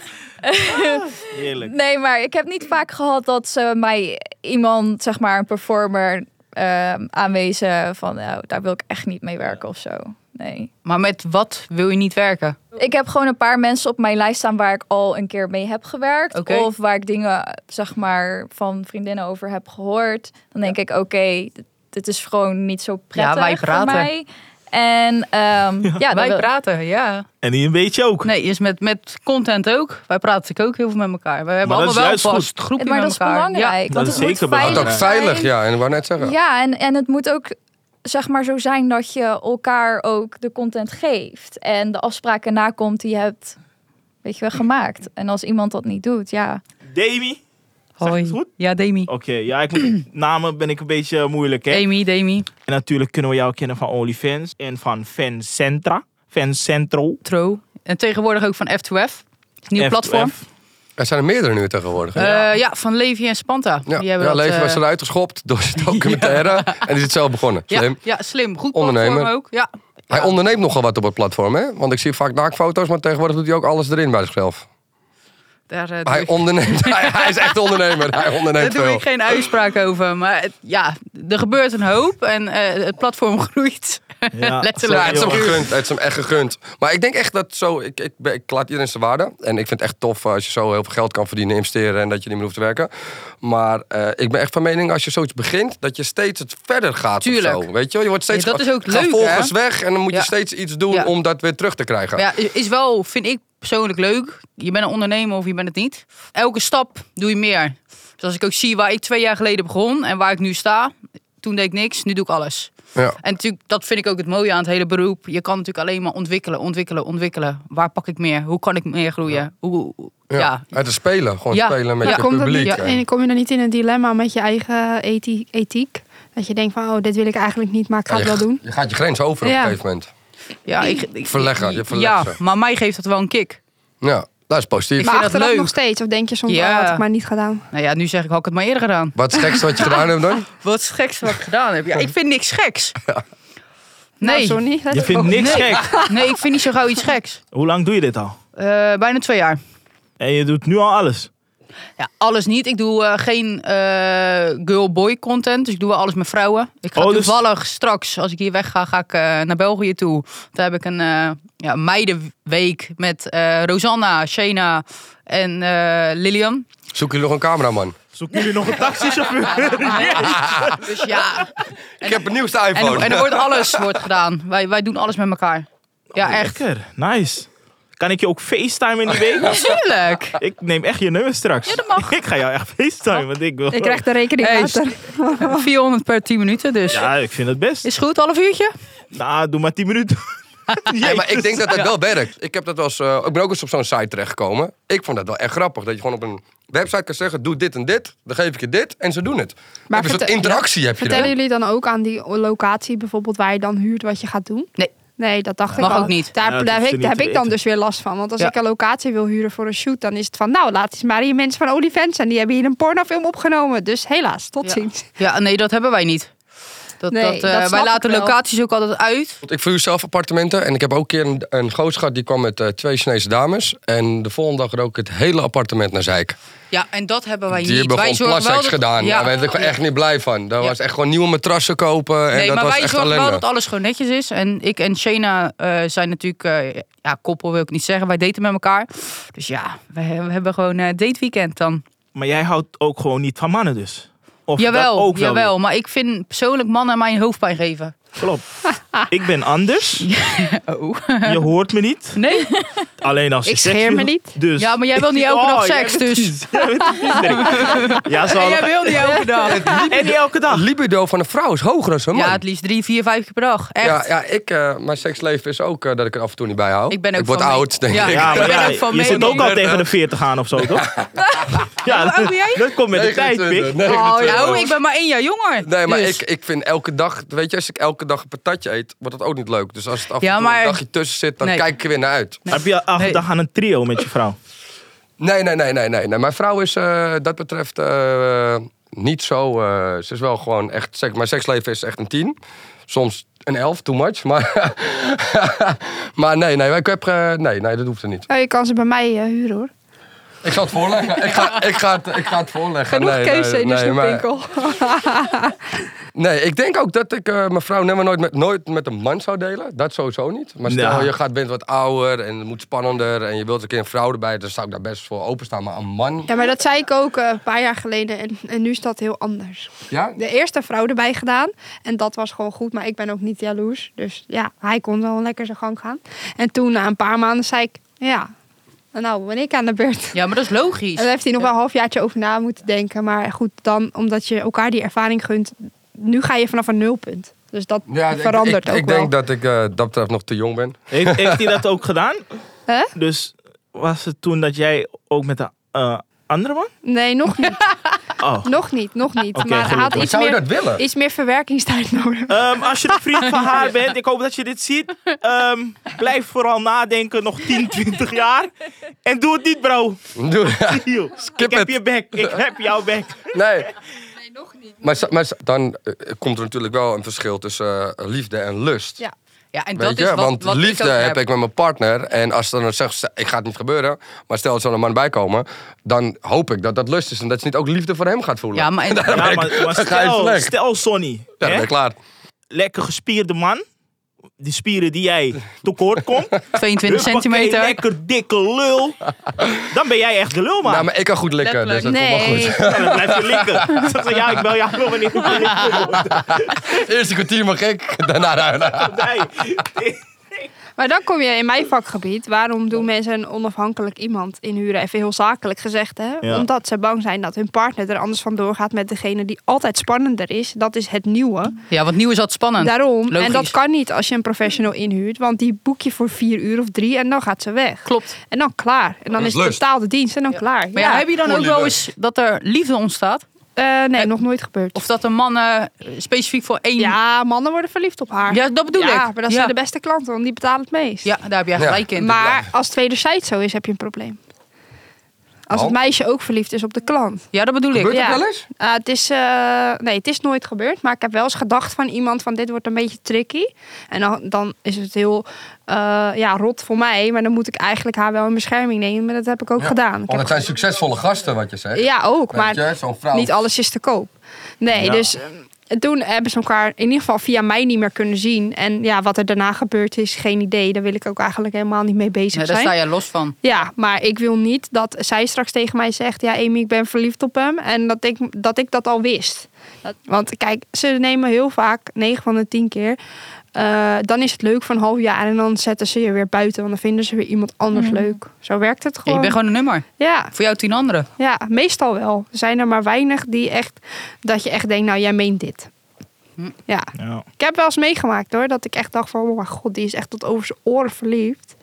Speaker 5: Heerlijk.
Speaker 3: nee, maar ik heb niet vaak gehad dat ze mij iemand, zeg maar een performer, eh, aanwezen van, nou, daar wil ik echt niet mee werken of zo. Nee.
Speaker 2: Maar met wat wil je niet werken?
Speaker 3: Ik heb gewoon een paar mensen op mijn lijst staan waar ik al een keer mee heb gewerkt.
Speaker 2: Oké.
Speaker 3: Of waar ik dingen, zeg maar, van vriendinnen over heb gehoord. Dan denk ik, oké, dit, dit is gewoon niet zo prettig
Speaker 2: wij praten.
Speaker 3: voor mij. En ehm, ja, dan
Speaker 2: wij
Speaker 3: wil-
Speaker 2: praten, ja.
Speaker 5: En die een beetje ook.
Speaker 2: Nee, is met, met content ook. Wij praten natuurlijk ook heel veel met elkaar. We hebben
Speaker 5: dat
Speaker 2: allemaal
Speaker 5: is
Speaker 2: wel een
Speaker 5: juist
Speaker 2: vast groepje
Speaker 3: maar dat
Speaker 2: met
Speaker 3: is
Speaker 2: elkaar.
Speaker 3: belangrijk.
Speaker 5: Dat
Speaker 3: want
Speaker 5: is
Speaker 3: het moet
Speaker 5: zeker
Speaker 4: Want
Speaker 5: belangrijk.
Speaker 4: ook veilig,
Speaker 3: zijn.
Speaker 4: ja. En ik wou net zeggen.
Speaker 3: Ja, en, en het moet ook zeg maar zo zijn dat je elkaar ook de content geeft. En de afspraken nakomt die je hebt, weet je wel, gemaakt. En als iemand dat niet doet, ja.
Speaker 5: Demi.
Speaker 2: Ja.
Speaker 5: Zeg ik het goed?
Speaker 2: Ja, Demi.
Speaker 5: Oké, ja, ik moet, namen ben ik een beetje moeilijk, hè?
Speaker 2: Demi, Demi.
Speaker 5: En natuurlijk kunnen we jou kennen van OnlyFans en van Fancentra. Fancentro.
Speaker 2: Tro. En tegenwoordig ook van F2F. Nieuw
Speaker 5: F2F.
Speaker 2: platform.
Speaker 4: Er zijn er meerdere nu tegenwoordig. hè?
Speaker 2: Eh, ja, van Levi en Spanta.
Speaker 4: ja,
Speaker 2: die hebben
Speaker 4: ja
Speaker 2: dat,
Speaker 4: Leven
Speaker 2: eh,
Speaker 4: was eruit geschopt door zijn documentaire. En die is het zelf begonnen. Slim.
Speaker 2: Ja, ja, slim. Goed
Speaker 4: Ondernemer.
Speaker 2: platform ook. Ja.
Speaker 4: Hij onderneemt nogal wat op het platform, hè? Want ik zie vaak naaktfoto's, maar tegenwoordig doet hij ook alles erin bij zichzelf.
Speaker 2: Daar, eh,
Speaker 4: Maar
Speaker 2: doe
Speaker 4: hij
Speaker 2: ik-
Speaker 4: onderneemt. hij, hij is echt ondernemer. Hij
Speaker 2: daar
Speaker 4: onderneemt
Speaker 2: doe
Speaker 4: veel.
Speaker 2: ik geen uitspraak over. Maar het- ja, er gebeurt een hoop. En eh, het platform groeit.
Speaker 5: Ja,
Speaker 2: Letterlijk.
Speaker 4: Ja, het is hem
Speaker 5: sorry, jongens.
Speaker 4: gegund. Het is hem echt gegund. Maar ik denk echt dat zo... Ik, ik, ben- ik laat iedereen zijn waarde. En ik vind het echt tof eh, als je zo heel veel geld kan verdienen, investeren... en dat je niet meer hoeft te werken. Maar eh, ik ben echt van mening, als je zoiets begint... dat je steeds het verder gaat
Speaker 2: Tuurlijk.
Speaker 4: of zo. Weet je wel? Je wordt steeds...
Speaker 2: Ja, dat is ook
Speaker 4: gaat
Speaker 2: leuk,
Speaker 4: volgens
Speaker 2: hè?
Speaker 4: weg en dan moet je
Speaker 2: Ja.
Speaker 4: steeds iets doen
Speaker 2: Ja.
Speaker 4: om dat weer terug te krijgen.
Speaker 2: Maar ja, is- is wel, vind ik persoonlijk leuk. Je bent een ondernemer of je bent het niet. Elke stap doe je meer. Dus als ik ook zie waar ik twee jaar geleden begon en waar ik nu sta. Toen deed ik niks, nu doe ik alles.
Speaker 4: Ja.
Speaker 2: En natuurlijk, dat vind ik ook het mooie aan het hele beroep. Je kan natuurlijk alleen maar ontwikkelen, ontwikkelen, ontwikkelen. Waar pak ik meer? Hoe kan ik meer groeien? Hoe, hoe-
Speaker 4: Ja.
Speaker 2: ja.
Speaker 4: Het is spelen. Gewoon
Speaker 2: Ja.
Speaker 4: spelen met
Speaker 2: Ja,
Speaker 4: je
Speaker 2: komt
Speaker 1: Komt dat
Speaker 4: publiek.
Speaker 1: niet,
Speaker 4: En-
Speaker 1: en kom je dan niet in een dilemma met je eigen ethi- ethiek? Dat je denkt van, oh, dit wil ik eigenlijk niet, maar ik ga
Speaker 4: Ja,
Speaker 1: het wel
Speaker 4: je-
Speaker 1: doen.
Speaker 4: Je gaat je grens over op
Speaker 1: Ja.
Speaker 4: een gegeven moment.
Speaker 2: ja ik, ik,
Speaker 4: Verleggen, je verlegt
Speaker 2: Ja,
Speaker 4: ze.
Speaker 2: maar mij geeft dat wel een kick.
Speaker 4: Ja, dat is positief.
Speaker 2: Ik-
Speaker 1: Maar
Speaker 2: vind dat
Speaker 1: achteraf
Speaker 2: leuk.
Speaker 1: nog steeds? Of denk je soms,
Speaker 2: Ja.
Speaker 1: oh, had ik maar niet gedaan?
Speaker 2: Nou ja, nu zeg ik, had ik het maar eerder gedaan.
Speaker 4: Wat is het gekste wat je gedaan hebt dan?
Speaker 2: Wat is het gekste wat ik gedaan heb? Ja, ik vind niks geks.
Speaker 1: Nou,
Speaker 2: Nee,
Speaker 1: sorry.
Speaker 5: Je vindt niks
Speaker 2: Nee.
Speaker 5: gek.
Speaker 2: nee, ik vind niet zo gauw iets geks.
Speaker 5: Hoe lang doe je dit al?
Speaker 2: Eh, bijna twee jaar.
Speaker 5: En je doet nu al alles.
Speaker 2: Ja, alles niet. Ik doe eh, geen eh, girl-boy content. Dus ik doe wel alles met vrouwen. Ik ga
Speaker 5: Oh, dus-
Speaker 2: toevallig straks, als ik hier wegga, ga ik eh, naar België toe. Daar heb ik een eh, ja, meidenweek met eh, Rosanna, Shena en eh, Lilian.
Speaker 4: Zoek jullie nog een cameraman?
Speaker 5: Zoeken jullie nog een taxichauffeur?
Speaker 2: Dus ja,
Speaker 4: Ik heb een nieuwste
Speaker 2: en,
Speaker 4: iPhone.
Speaker 2: en er wordt alles wordt gedaan. Wij, wij doen alles met elkaar. Ja, echt.
Speaker 5: Lekker, nice. Kan ik je ook facetimen in die week?
Speaker 2: Tuurlijk.
Speaker 5: Ik neem echt je nummer straks.
Speaker 2: Ja, dat mag.
Speaker 5: Ik ga jou echt facetimen, want ik wil...
Speaker 1: Ik krijg de rekening
Speaker 2: Hey,
Speaker 1: later.
Speaker 2: 400 per 10 minuten, dus.
Speaker 5: Ja, ik vind het best.
Speaker 2: Is goed, half uurtje?
Speaker 5: Nou, doe maar 10 minuten.
Speaker 4: Nee, maar ik denk dat dat wel werkt. Ik, heb dat wel eens, eh, ik ben ook eens op zo'n site terechtgekomen. Ik vond dat wel echt grappig. Dat je gewoon op een website kan zeggen: doe dit en dit, dan geef ik je dit en ze doen het. Maar een soort
Speaker 1: vertel-
Speaker 4: interactie heb je
Speaker 1: Vertellen
Speaker 4: dan.
Speaker 1: jullie dan ook aan die locatie bijvoorbeeld waar je dan huurt wat je gaat doen?
Speaker 2: Nee.
Speaker 1: Nee, dat dacht
Speaker 2: Mag
Speaker 1: ik al.
Speaker 2: ook niet.
Speaker 1: Daar,
Speaker 5: Ja, dat
Speaker 1: daar, heb
Speaker 5: hoeft je
Speaker 1: ik, daar heb
Speaker 5: niet te
Speaker 1: ik dan
Speaker 5: weten.
Speaker 1: dus weer last van. Want als
Speaker 2: Ja.
Speaker 1: ik een locatie wil huren voor een shoot, dan is het van... nou, laat eens maar hier mensen van OnlyFans en die hebben hier een pornofilm opgenomen. Dus helaas, tot
Speaker 2: Ja.
Speaker 1: ziens.
Speaker 2: Ja, nee, dat hebben wij niet. Dat,
Speaker 1: Nee,
Speaker 2: dat, eh,
Speaker 1: dat
Speaker 2: wij
Speaker 1: snap
Speaker 2: laten
Speaker 1: ik wel.
Speaker 2: locaties ook altijd uit.
Speaker 4: Want Ik verhuur zelf appartementen en ik heb ook een keer een, een goos gehad die kwam met eh, twee Chinese dames. En de volgende dag rook het hele appartement naar zeik.
Speaker 2: Ja, en dat hebben wij
Speaker 4: Die
Speaker 2: niet.
Speaker 4: hebben
Speaker 2: wij
Speaker 4: gewoon
Speaker 2: zorgen
Speaker 4: plasseks
Speaker 2: wel dat-
Speaker 4: gedaan. Ja. Daar ben ik echt niet blij van. Daar
Speaker 2: Ja.
Speaker 4: was echt gewoon nieuwe matrassen kopen. En
Speaker 2: Nee,
Speaker 4: dat
Speaker 2: maar
Speaker 4: was
Speaker 2: wij
Speaker 4: echt
Speaker 2: zorgen
Speaker 4: ellende.
Speaker 2: wel dat alles gewoon netjes is. En ik en Shena eh, zijn natuurlijk, eh, ja, koppel wil ik niet zeggen. Wij daten met elkaar. Dus ja, we, he- we hebben gewoon eh dateweekend dan.
Speaker 5: Maar jij houdt ook gewoon niet van mannen dus? Of dat
Speaker 2: jawel,
Speaker 5: ook wel
Speaker 2: jawel. Maar ik vind persoonlijk mannen mij een hoofdpijn geven.
Speaker 5: Klopt. Ik ben anders.
Speaker 2: Oh.
Speaker 5: Je hoort me niet.
Speaker 2: Nee?
Speaker 5: Alleen als je
Speaker 1: Ik scheer
Speaker 5: seks-
Speaker 1: me niet.
Speaker 5: Dus.
Speaker 2: Ja, maar jij wil niet elke dag seks, dus.
Speaker 5: Jij bent een viesrik. ja, ze
Speaker 2: En jij
Speaker 5: hadden-
Speaker 2: wil niet elke dag.
Speaker 5: En niet elke dag.
Speaker 4: libido van een vrouw is hoger dan zo'n man.
Speaker 2: Ja, het liefst drie, vier, vijf keer per dag. Echt.
Speaker 4: Ja, ja ik, eh, mijn seksleven is ook eh, dat ik er af en toe niet bij hou.
Speaker 2: Ik ben ook
Speaker 4: word
Speaker 2: van mee.
Speaker 4: oud, denk
Speaker 2: Ja.
Speaker 4: ik.
Speaker 5: Ja,
Speaker 2: Ik
Speaker 5: maar
Speaker 2: ben
Speaker 5: ja,
Speaker 2: ook van
Speaker 5: je zit
Speaker 2: mening.
Speaker 5: ook al tegen de 40 aan of zo, toch? Ja,
Speaker 2: oud ben jij?
Speaker 5: dat, dat komt met de tijd, pik.
Speaker 4: 29, 29.
Speaker 2: Oh, nou, ik ben maar één jaar jonger.
Speaker 4: eh, Nee, maar
Speaker 2: Dus-
Speaker 4: ik, ik vind elke dag... Weet je, als ik elke dag een patatje eet, wordt dat ook niet leuk. Dus als het af en
Speaker 2: Ja,
Speaker 4: toe
Speaker 2: maar-
Speaker 4: een dagje tussen zit, dan
Speaker 2: Nee.
Speaker 4: kijk ik er weer naar uit.
Speaker 5: Heb je elke
Speaker 2: Nee.
Speaker 5: dag aan een trio met je vrouw?
Speaker 4: Nee, nee, nee, nee, nee. nee. Mijn vrouw is eh, dat betreft eh, niet zo... eh, ze is wel gewoon echt... Seks, mijn seksleven is echt een tien. Soms een elf, too much. Maar, maar nee, nee, ik heb, eh, nee, nee, dat hoeft er niet.
Speaker 1: Oh, je kan ze bij mij eh, huren hoor.
Speaker 4: Ik zal het voorleggen. Ik ga, ik ga, het, ik ga het voorleggen.
Speaker 1: Genoeg
Speaker 4: nee,
Speaker 1: keuze
Speaker 4: nee,
Speaker 1: in de
Speaker 4: nee, maar-
Speaker 1: snoepwinkel.
Speaker 4: Nee, ik denk ook dat ik eh, mijn vrouw helemaal nooit met, nooit met een man zou delen. Dat sowieso niet. Maar stel,
Speaker 5: Nou.
Speaker 4: je gaat, bent wat ouder en het moet spannender... en je wilt een keer een vrouw erbij, dan zou ik daar best voor openstaan. Maar een man,
Speaker 1: Ja, maar dat zei ik ook eh, een paar jaar geleden en, en nu is dat heel anders.
Speaker 4: ja?
Speaker 1: De eerste vrouw erbij gedaan en dat was gewoon goed, maar ik ben ook niet jaloers. Dus ja, hij kon wel lekker zijn gang gaan. En toen na een paar maanden zei ik, ja, nou ben ik aan de beurt.
Speaker 2: Ja, maar dat is
Speaker 1: En
Speaker 2: logisch.
Speaker 1: daar heeft hij nog wel een halfjaartje over na moeten denken. Maar goed, dan omdat je elkaar die ervaring gunt, nu ga je vanaf een nulpunt. Dus dat
Speaker 4: ja ik-
Speaker 1: verandert
Speaker 4: ik, ik,
Speaker 1: ook wel.
Speaker 4: denk dat ik eh, dat betreft nog te jong ben.
Speaker 5: Heeft, heeft hij dat ook gedaan?
Speaker 1: Hè?
Speaker 5: Dus was het toen dat jij ook met de eh, andere man?
Speaker 1: Nee, nog niet,
Speaker 5: Oh.
Speaker 1: nog niet, nog niet.
Speaker 5: Oké,
Speaker 1: maar hij had
Speaker 5: gelukkig.
Speaker 1: iets
Speaker 4: zou
Speaker 1: meer,
Speaker 4: je dat willen?
Speaker 1: iets meer verwerkingstijd nodig.
Speaker 5: Ehm, als je de vriend van haar bent, ik hoop dat je dit ziet. ehm, blijf vooral nadenken, nog 10, 20 jaar. En doe het niet, bro.
Speaker 4: Doe-
Speaker 5: Yo, ik heb
Speaker 4: het.
Speaker 5: je bek. Ik heb jouw bek.
Speaker 4: nee. nog niet. Maar, s- maar s- dan eh, komt er natuurlijk wel een verschil tussen eh, liefde en lust.
Speaker 1: Ja.
Speaker 2: Ja, en
Speaker 4: Weet
Speaker 2: dat
Speaker 4: je,
Speaker 2: is wat,
Speaker 4: want
Speaker 2: wat
Speaker 4: liefde
Speaker 2: ik ook
Speaker 4: heb ik met mijn partner. En als ze dan zegt, ze- ik ga het niet gebeuren. Maar stel, er zal een man bij komen. Dan hoop ik dat dat lust is. En dat ze niet ook liefde voor hem gaat voelen.
Speaker 2: Ja, maar en-
Speaker 5: Ja, maar, maar
Speaker 4: Dan ga je
Speaker 5: stel,
Speaker 4: slecht.
Speaker 5: stel Sonny.
Speaker 4: Ja, dan
Speaker 5: hè?
Speaker 4: ben je klaar.
Speaker 5: Lekker gespierde man. Die spieren die jij tekort komt.
Speaker 2: 22
Speaker 5: Huppakee,
Speaker 2: centimeter.
Speaker 5: Lekker dikke lul. Dan ben jij echt de lul, man.
Speaker 4: Nou, maar ik kan goed likken, dus dat komt wel
Speaker 1: Nee,
Speaker 4: goed.
Speaker 5: Dan blijf je linken. Zeg ze, ja, ik bel jou wel wanneer ik wil.
Speaker 4: Eerste kwartier mag ik, daarna daarna.
Speaker 5: Nee.
Speaker 1: Maar dan kom je in mijn vakgebied. Waarom doen mensen een onafhankelijk iemand inhuren? Even heel zakelijk gezegd, hè?
Speaker 5: Ja.
Speaker 1: Omdat ze bang zijn dat hun partner er anders van doorgaat met degene die altijd spannender is. Dat is het nieuwe.
Speaker 2: Ja, want nieuw is altijd spannend.
Speaker 1: Daarom.
Speaker 2: Logisch.
Speaker 1: En dat kan niet als je een professional inhuurt, want die boek je voor vier uur of drie en dan gaat ze weg.
Speaker 2: Klopt.
Speaker 1: En dan klaar. En dan
Speaker 4: is
Speaker 1: is het
Speaker 4: lust.
Speaker 1: betaalde dienst en dan klaar.
Speaker 2: Maar ja, heb je dan ook
Speaker 4: Volle
Speaker 2: wel
Speaker 4: leuk.
Speaker 2: eens dat er liefde ontstaat?
Speaker 1: Eh, nee, nog nooit gebeurd.
Speaker 2: Of dat een man eh, specifiek voor één...
Speaker 1: Ja, mannen worden verliefd op haar.
Speaker 2: Ja, dat bedoel
Speaker 1: Ja,
Speaker 2: ik.
Speaker 1: maar dat
Speaker 2: ja.
Speaker 1: zijn de beste klanten, want die betalen het meest.
Speaker 2: Ja, daar heb jij
Speaker 4: Ja.
Speaker 2: gelijk in.
Speaker 1: Maar als tweede site zo is, heb je een probleem. Als het
Speaker 4: Want?
Speaker 1: meisje ook verliefd is op de klant.
Speaker 2: Ja, dat bedoel ik.
Speaker 4: Gebeurt
Speaker 1: Ja.
Speaker 4: dat wel eens?
Speaker 1: Eh, het, is, eh, nee, het is nooit gebeurd, maar ik heb wel eens gedacht van iemand van dit wordt een beetje tricky. En dan, dan is het heel eh, ja, rot voor mij, maar dan moet ik eigenlijk haar wel in bescherming nemen. Maar dat heb ik ook
Speaker 4: Ja.
Speaker 1: gedaan. Ik
Speaker 4: Want
Speaker 1: heb
Speaker 4: het zijn succesvolle gasten, wat je zegt.
Speaker 1: ja, ook.
Speaker 4: Weet
Speaker 1: Maar
Speaker 4: je, zo'n vrouw.
Speaker 1: niet alles is te koop. Nee,
Speaker 5: Ja.
Speaker 1: dus eh, toen hebben ze elkaar in ieder geval via mij niet meer kunnen zien. En ja, wat er daarna gebeurd is, geen idee. Daar wil ik ook eigenlijk helemaal niet mee bezig
Speaker 2: Nee, daar
Speaker 1: zijn.
Speaker 2: sta je los van.
Speaker 1: Ja, maar ik wil niet dat zij straks tegen mij zegt: Ja, Amy, ik ben verliefd op hem. En dat ik dat, ik dat al wist. Dat- Want kijk, ze nemen heel vaak, 9 van de 10 keer. eh, dan is het leuk van een half jaar en dan zetten ze je weer buiten. Want dan vinden ze weer iemand anders leuk. Zo werkt het
Speaker 2: Ja, je
Speaker 1: Mhm. gewoon.
Speaker 2: bent gewoon een nummer.
Speaker 1: Ja,
Speaker 2: Voor jou tien anderen.
Speaker 1: ja, meestal wel. Er zijn er maar weinig die echt, dat je echt denkt: Nou, jij meent dit.
Speaker 2: Hm.
Speaker 1: Ja,
Speaker 5: Ja.
Speaker 1: ik heb wel eens meegemaakt hoor. Dat ik echt dacht: van, Oh, mijn god, die is echt tot over zijn oren verliefd.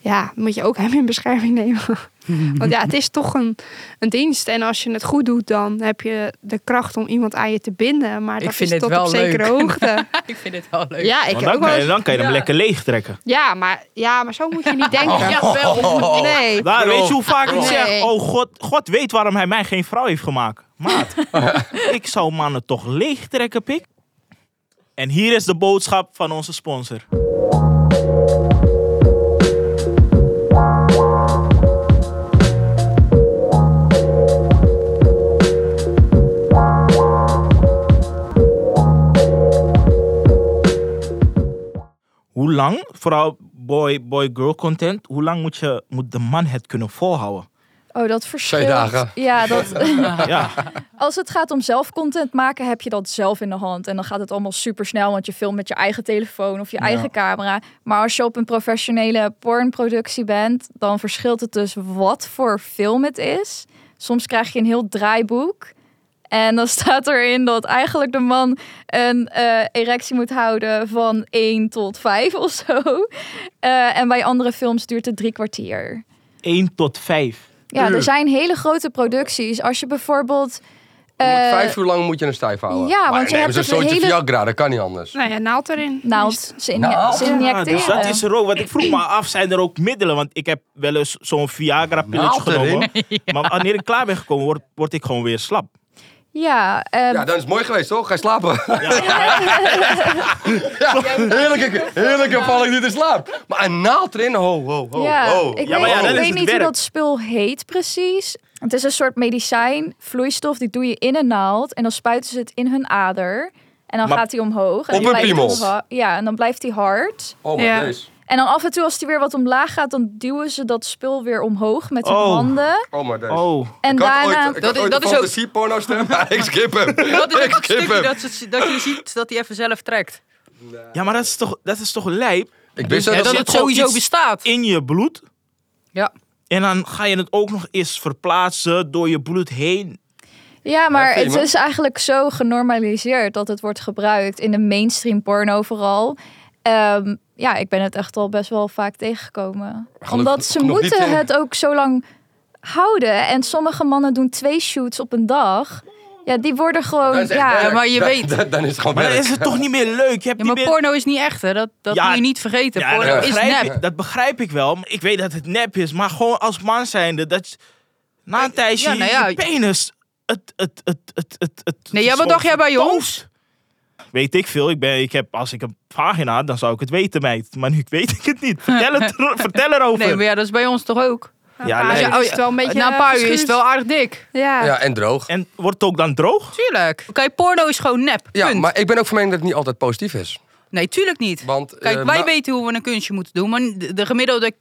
Speaker 1: Ja, dan moet je ook hem in bescherming nemen. Want ja, het is toch een, een dienst. En als je het goed doet, dan heb je de kracht om iemand aan je te binden. Maar
Speaker 2: Ik
Speaker 1: dat
Speaker 2: vind
Speaker 1: is
Speaker 2: het
Speaker 1: tot
Speaker 2: wel
Speaker 1: op zekere
Speaker 2: leuk.
Speaker 1: hoogte.
Speaker 2: ik vind het wel leuk.
Speaker 1: Ja, ik
Speaker 5: Want
Speaker 1: heb
Speaker 5: dan,
Speaker 1: ook wel
Speaker 5: kan je,
Speaker 1: eens-
Speaker 5: dan kan je hem
Speaker 2: Ja.
Speaker 5: lekker leegtrekken.
Speaker 1: ja, maar, ja, maar zo moet je niet denken.
Speaker 2: Ja, wel.
Speaker 1: Nee.
Speaker 5: Daar, weet je hoe vaak ik
Speaker 1: Nee.
Speaker 5: zeg, oh God, God weet waarom hij mij geen vrouw heeft gemaakt. Maat, ik zou mannen toch leegtrekken, pik. En hier is de boodschap van onze sponsor. Hoe lang, vooral boy-boy-girl content, hoe lang moet, je, moet de man het kunnen volhouden?
Speaker 3: Oh, dat verschilt.
Speaker 4: Twee dagen.
Speaker 3: Ja, dat,
Speaker 5: Ja,
Speaker 3: als het gaat om zelf content maken, heb je dat zelf in de hand. En dan gaat het allemaal super snel, want je filmt met je eigen telefoon of je
Speaker 5: Ja.
Speaker 3: eigen camera. Maar als je op een professionele pornproductie bent, dan verschilt het dus wat voor film het is. Soms krijg je een heel draaiboek. En dan staat erin dat eigenlijk de man een eh, erectie moet houden van 1 tot 5 of zo. Eh, en bij andere films duurt het drie kwartier.
Speaker 5: 1 tot 5.
Speaker 3: Ja,
Speaker 4: Uur.
Speaker 3: er zijn hele grote producties. Als je bijvoorbeeld.
Speaker 4: Je moet
Speaker 3: eh,
Speaker 4: vijf uur lang moet je hem stijf houden.
Speaker 3: ja,
Speaker 4: Maar
Speaker 3: want je
Speaker 4: neem
Speaker 3: hebt
Speaker 4: eens een
Speaker 3: het
Speaker 4: zootje
Speaker 3: hele-
Speaker 4: Viagra, dat kan niet anders.
Speaker 1: Nou ja, naald erin.
Speaker 3: Naald, ze, inje-
Speaker 4: Naald?
Speaker 3: ze
Speaker 5: Ja,
Speaker 3: injecteren.
Speaker 5: dus dat is er ook. Want ik vroeg me af, zijn er ook middelen? Want ik heb wel eens zo'n Viagra-pilletje
Speaker 4: Naald erin.
Speaker 5: genomen. Maar wanneer ik klaar ben gekomen, word, word ik gewoon weer slap.
Speaker 3: Ja, ehm,
Speaker 4: Ja, dat is het mooi geweest, toch? Ga je slapen? Ja, heerlijke, heerlijke val ik nu te slaap. Maar een naald erin, ho, ho, ho,
Speaker 3: ja,
Speaker 4: ho.
Speaker 3: ik
Speaker 5: Ja, maar
Speaker 3: weet,
Speaker 5: ja,
Speaker 3: ik
Speaker 5: dat is
Speaker 3: weet
Speaker 5: het
Speaker 3: niet hoe
Speaker 5: werk.
Speaker 3: dat spul heet precies. Het is een soort medicijn, vloeistof, die doe je in een naald. En dan spuiten ze het in hun ader. En dan
Speaker 5: Maar
Speaker 3: gaat hij omhoog. En
Speaker 4: op
Speaker 3: dan
Speaker 4: een
Speaker 3: blijft
Speaker 4: piemel?
Speaker 3: hij ha- Ja, en dan blijft hij hard.
Speaker 4: Oh, maar
Speaker 1: Ja.
Speaker 4: deze.
Speaker 3: En dan af en toe, als hij weer wat omlaag gaat, dan duwen ze dat spul weer omhoog met hun
Speaker 5: Oh.
Speaker 3: handen.
Speaker 4: Oh, maar deze.
Speaker 5: Oh,
Speaker 3: En
Speaker 4: ik had
Speaker 3: daarna.
Speaker 4: ooit, ik
Speaker 2: Dat
Speaker 4: had
Speaker 2: is-
Speaker 4: ooit
Speaker 2: dat
Speaker 4: een
Speaker 2: is ook-
Speaker 4: fantasieporno stem, maar ik skip hem.
Speaker 2: Dat is ook
Speaker 4: ik
Speaker 2: dat
Speaker 4: skip
Speaker 2: stukje
Speaker 4: hem.
Speaker 2: dat, ze, dat je ziet dat hij even zelf trekt.
Speaker 5: ja, maar dat is toch, dat is toch lijp?
Speaker 4: Ik wist
Speaker 2: Ja,
Speaker 4: dat,
Speaker 2: dat
Speaker 5: zit
Speaker 2: het
Speaker 5: gewoon
Speaker 2: sowieso
Speaker 5: iets
Speaker 2: bestaat.
Speaker 5: in je bloed.
Speaker 2: Ja.
Speaker 5: En dan ga je het ook nog eens verplaatsen door je bloed heen.
Speaker 3: Ja,
Speaker 4: Ja,
Speaker 3: maar
Speaker 4: vind je
Speaker 3: het
Speaker 4: maar.
Speaker 3: is eigenlijk zo genormaliseerd dat het wordt gebruikt in de mainstream porno vooral. Ehm, ja, ik ben het echt al best wel vaak tegengekomen.
Speaker 4: Gelukkig
Speaker 3: Omdat ze
Speaker 4: nog niet,
Speaker 3: moeten
Speaker 4: eh.
Speaker 3: het ook zo lang houden. En sommige mannen doen twee shoots op een dag. Ja, die worden
Speaker 4: Dan
Speaker 3: gewoon...
Speaker 4: is het
Speaker 3: Ja,
Speaker 4: echt werk.
Speaker 2: maar je
Speaker 4: Dan-
Speaker 2: weet-
Speaker 4: Dan, dan is het gewoon
Speaker 5: Maar dan
Speaker 4: werk.
Speaker 5: is het toch niet meer leuk. Je hebt
Speaker 2: Ja,
Speaker 5: niet
Speaker 2: maar
Speaker 5: meer...
Speaker 2: porno is niet echt, hè? Dat, dat
Speaker 5: Ja,
Speaker 2: moet je niet vergeten.
Speaker 5: Ja,
Speaker 2: porno
Speaker 5: dat,
Speaker 2: is
Speaker 5: begrijp
Speaker 2: nep.
Speaker 5: Ik, dat begrijp ik wel. Maar Ik weet dat het nep is. Maar gewoon als man zijnde, dat je- na een tijdje
Speaker 2: Ja, nou ja.
Speaker 5: je penis... Het, het, het, het, het, het,
Speaker 2: Nee, ja,
Speaker 5: het
Speaker 2: wat
Speaker 5: zo
Speaker 2: dacht jij bij je
Speaker 5: vertoont.
Speaker 2: ons?
Speaker 5: Weet ik veel. Ik ben, ik heb, als ik een vagina had, dan zou ik het weten, meid. Maar nu weet ik het niet. Vertel, het, er- vertel erover.
Speaker 2: Nee, maar ja, dat is bij ons toch ook?
Speaker 1: Na
Speaker 5: Ja,
Speaker 1: een paar
Speaker 5: nee.
Speaker 1: uur
Speaker 2: Oh,
Speaker 1: is het wel een beetje eh,
Speaker 2: Na een paar uur is
Speaker 1: geschuurd.
Speaker 2: het wel aardig dik.
Speaker 1: Ja.
Speaker 4: Ja, en droog.
Speaker 5: En wordt het ook dan droog?
Speaker 2: Tuurlijk. Oké, porno is gewoon nep. Punt.
Speaker 4: Ja, maar ik ben ook van mening dat het niet altijd positief is.
Speaker 2: Nee, tuurlijk niet.
Speaker 4: Want,
Speaker 2: Kijk,
Speaker 4: eh,
Speaker 2: wij
Speaker 4: ma-
Speaker 2: weten hoe we een kunstje moeten doen, maar de, de gemiddelde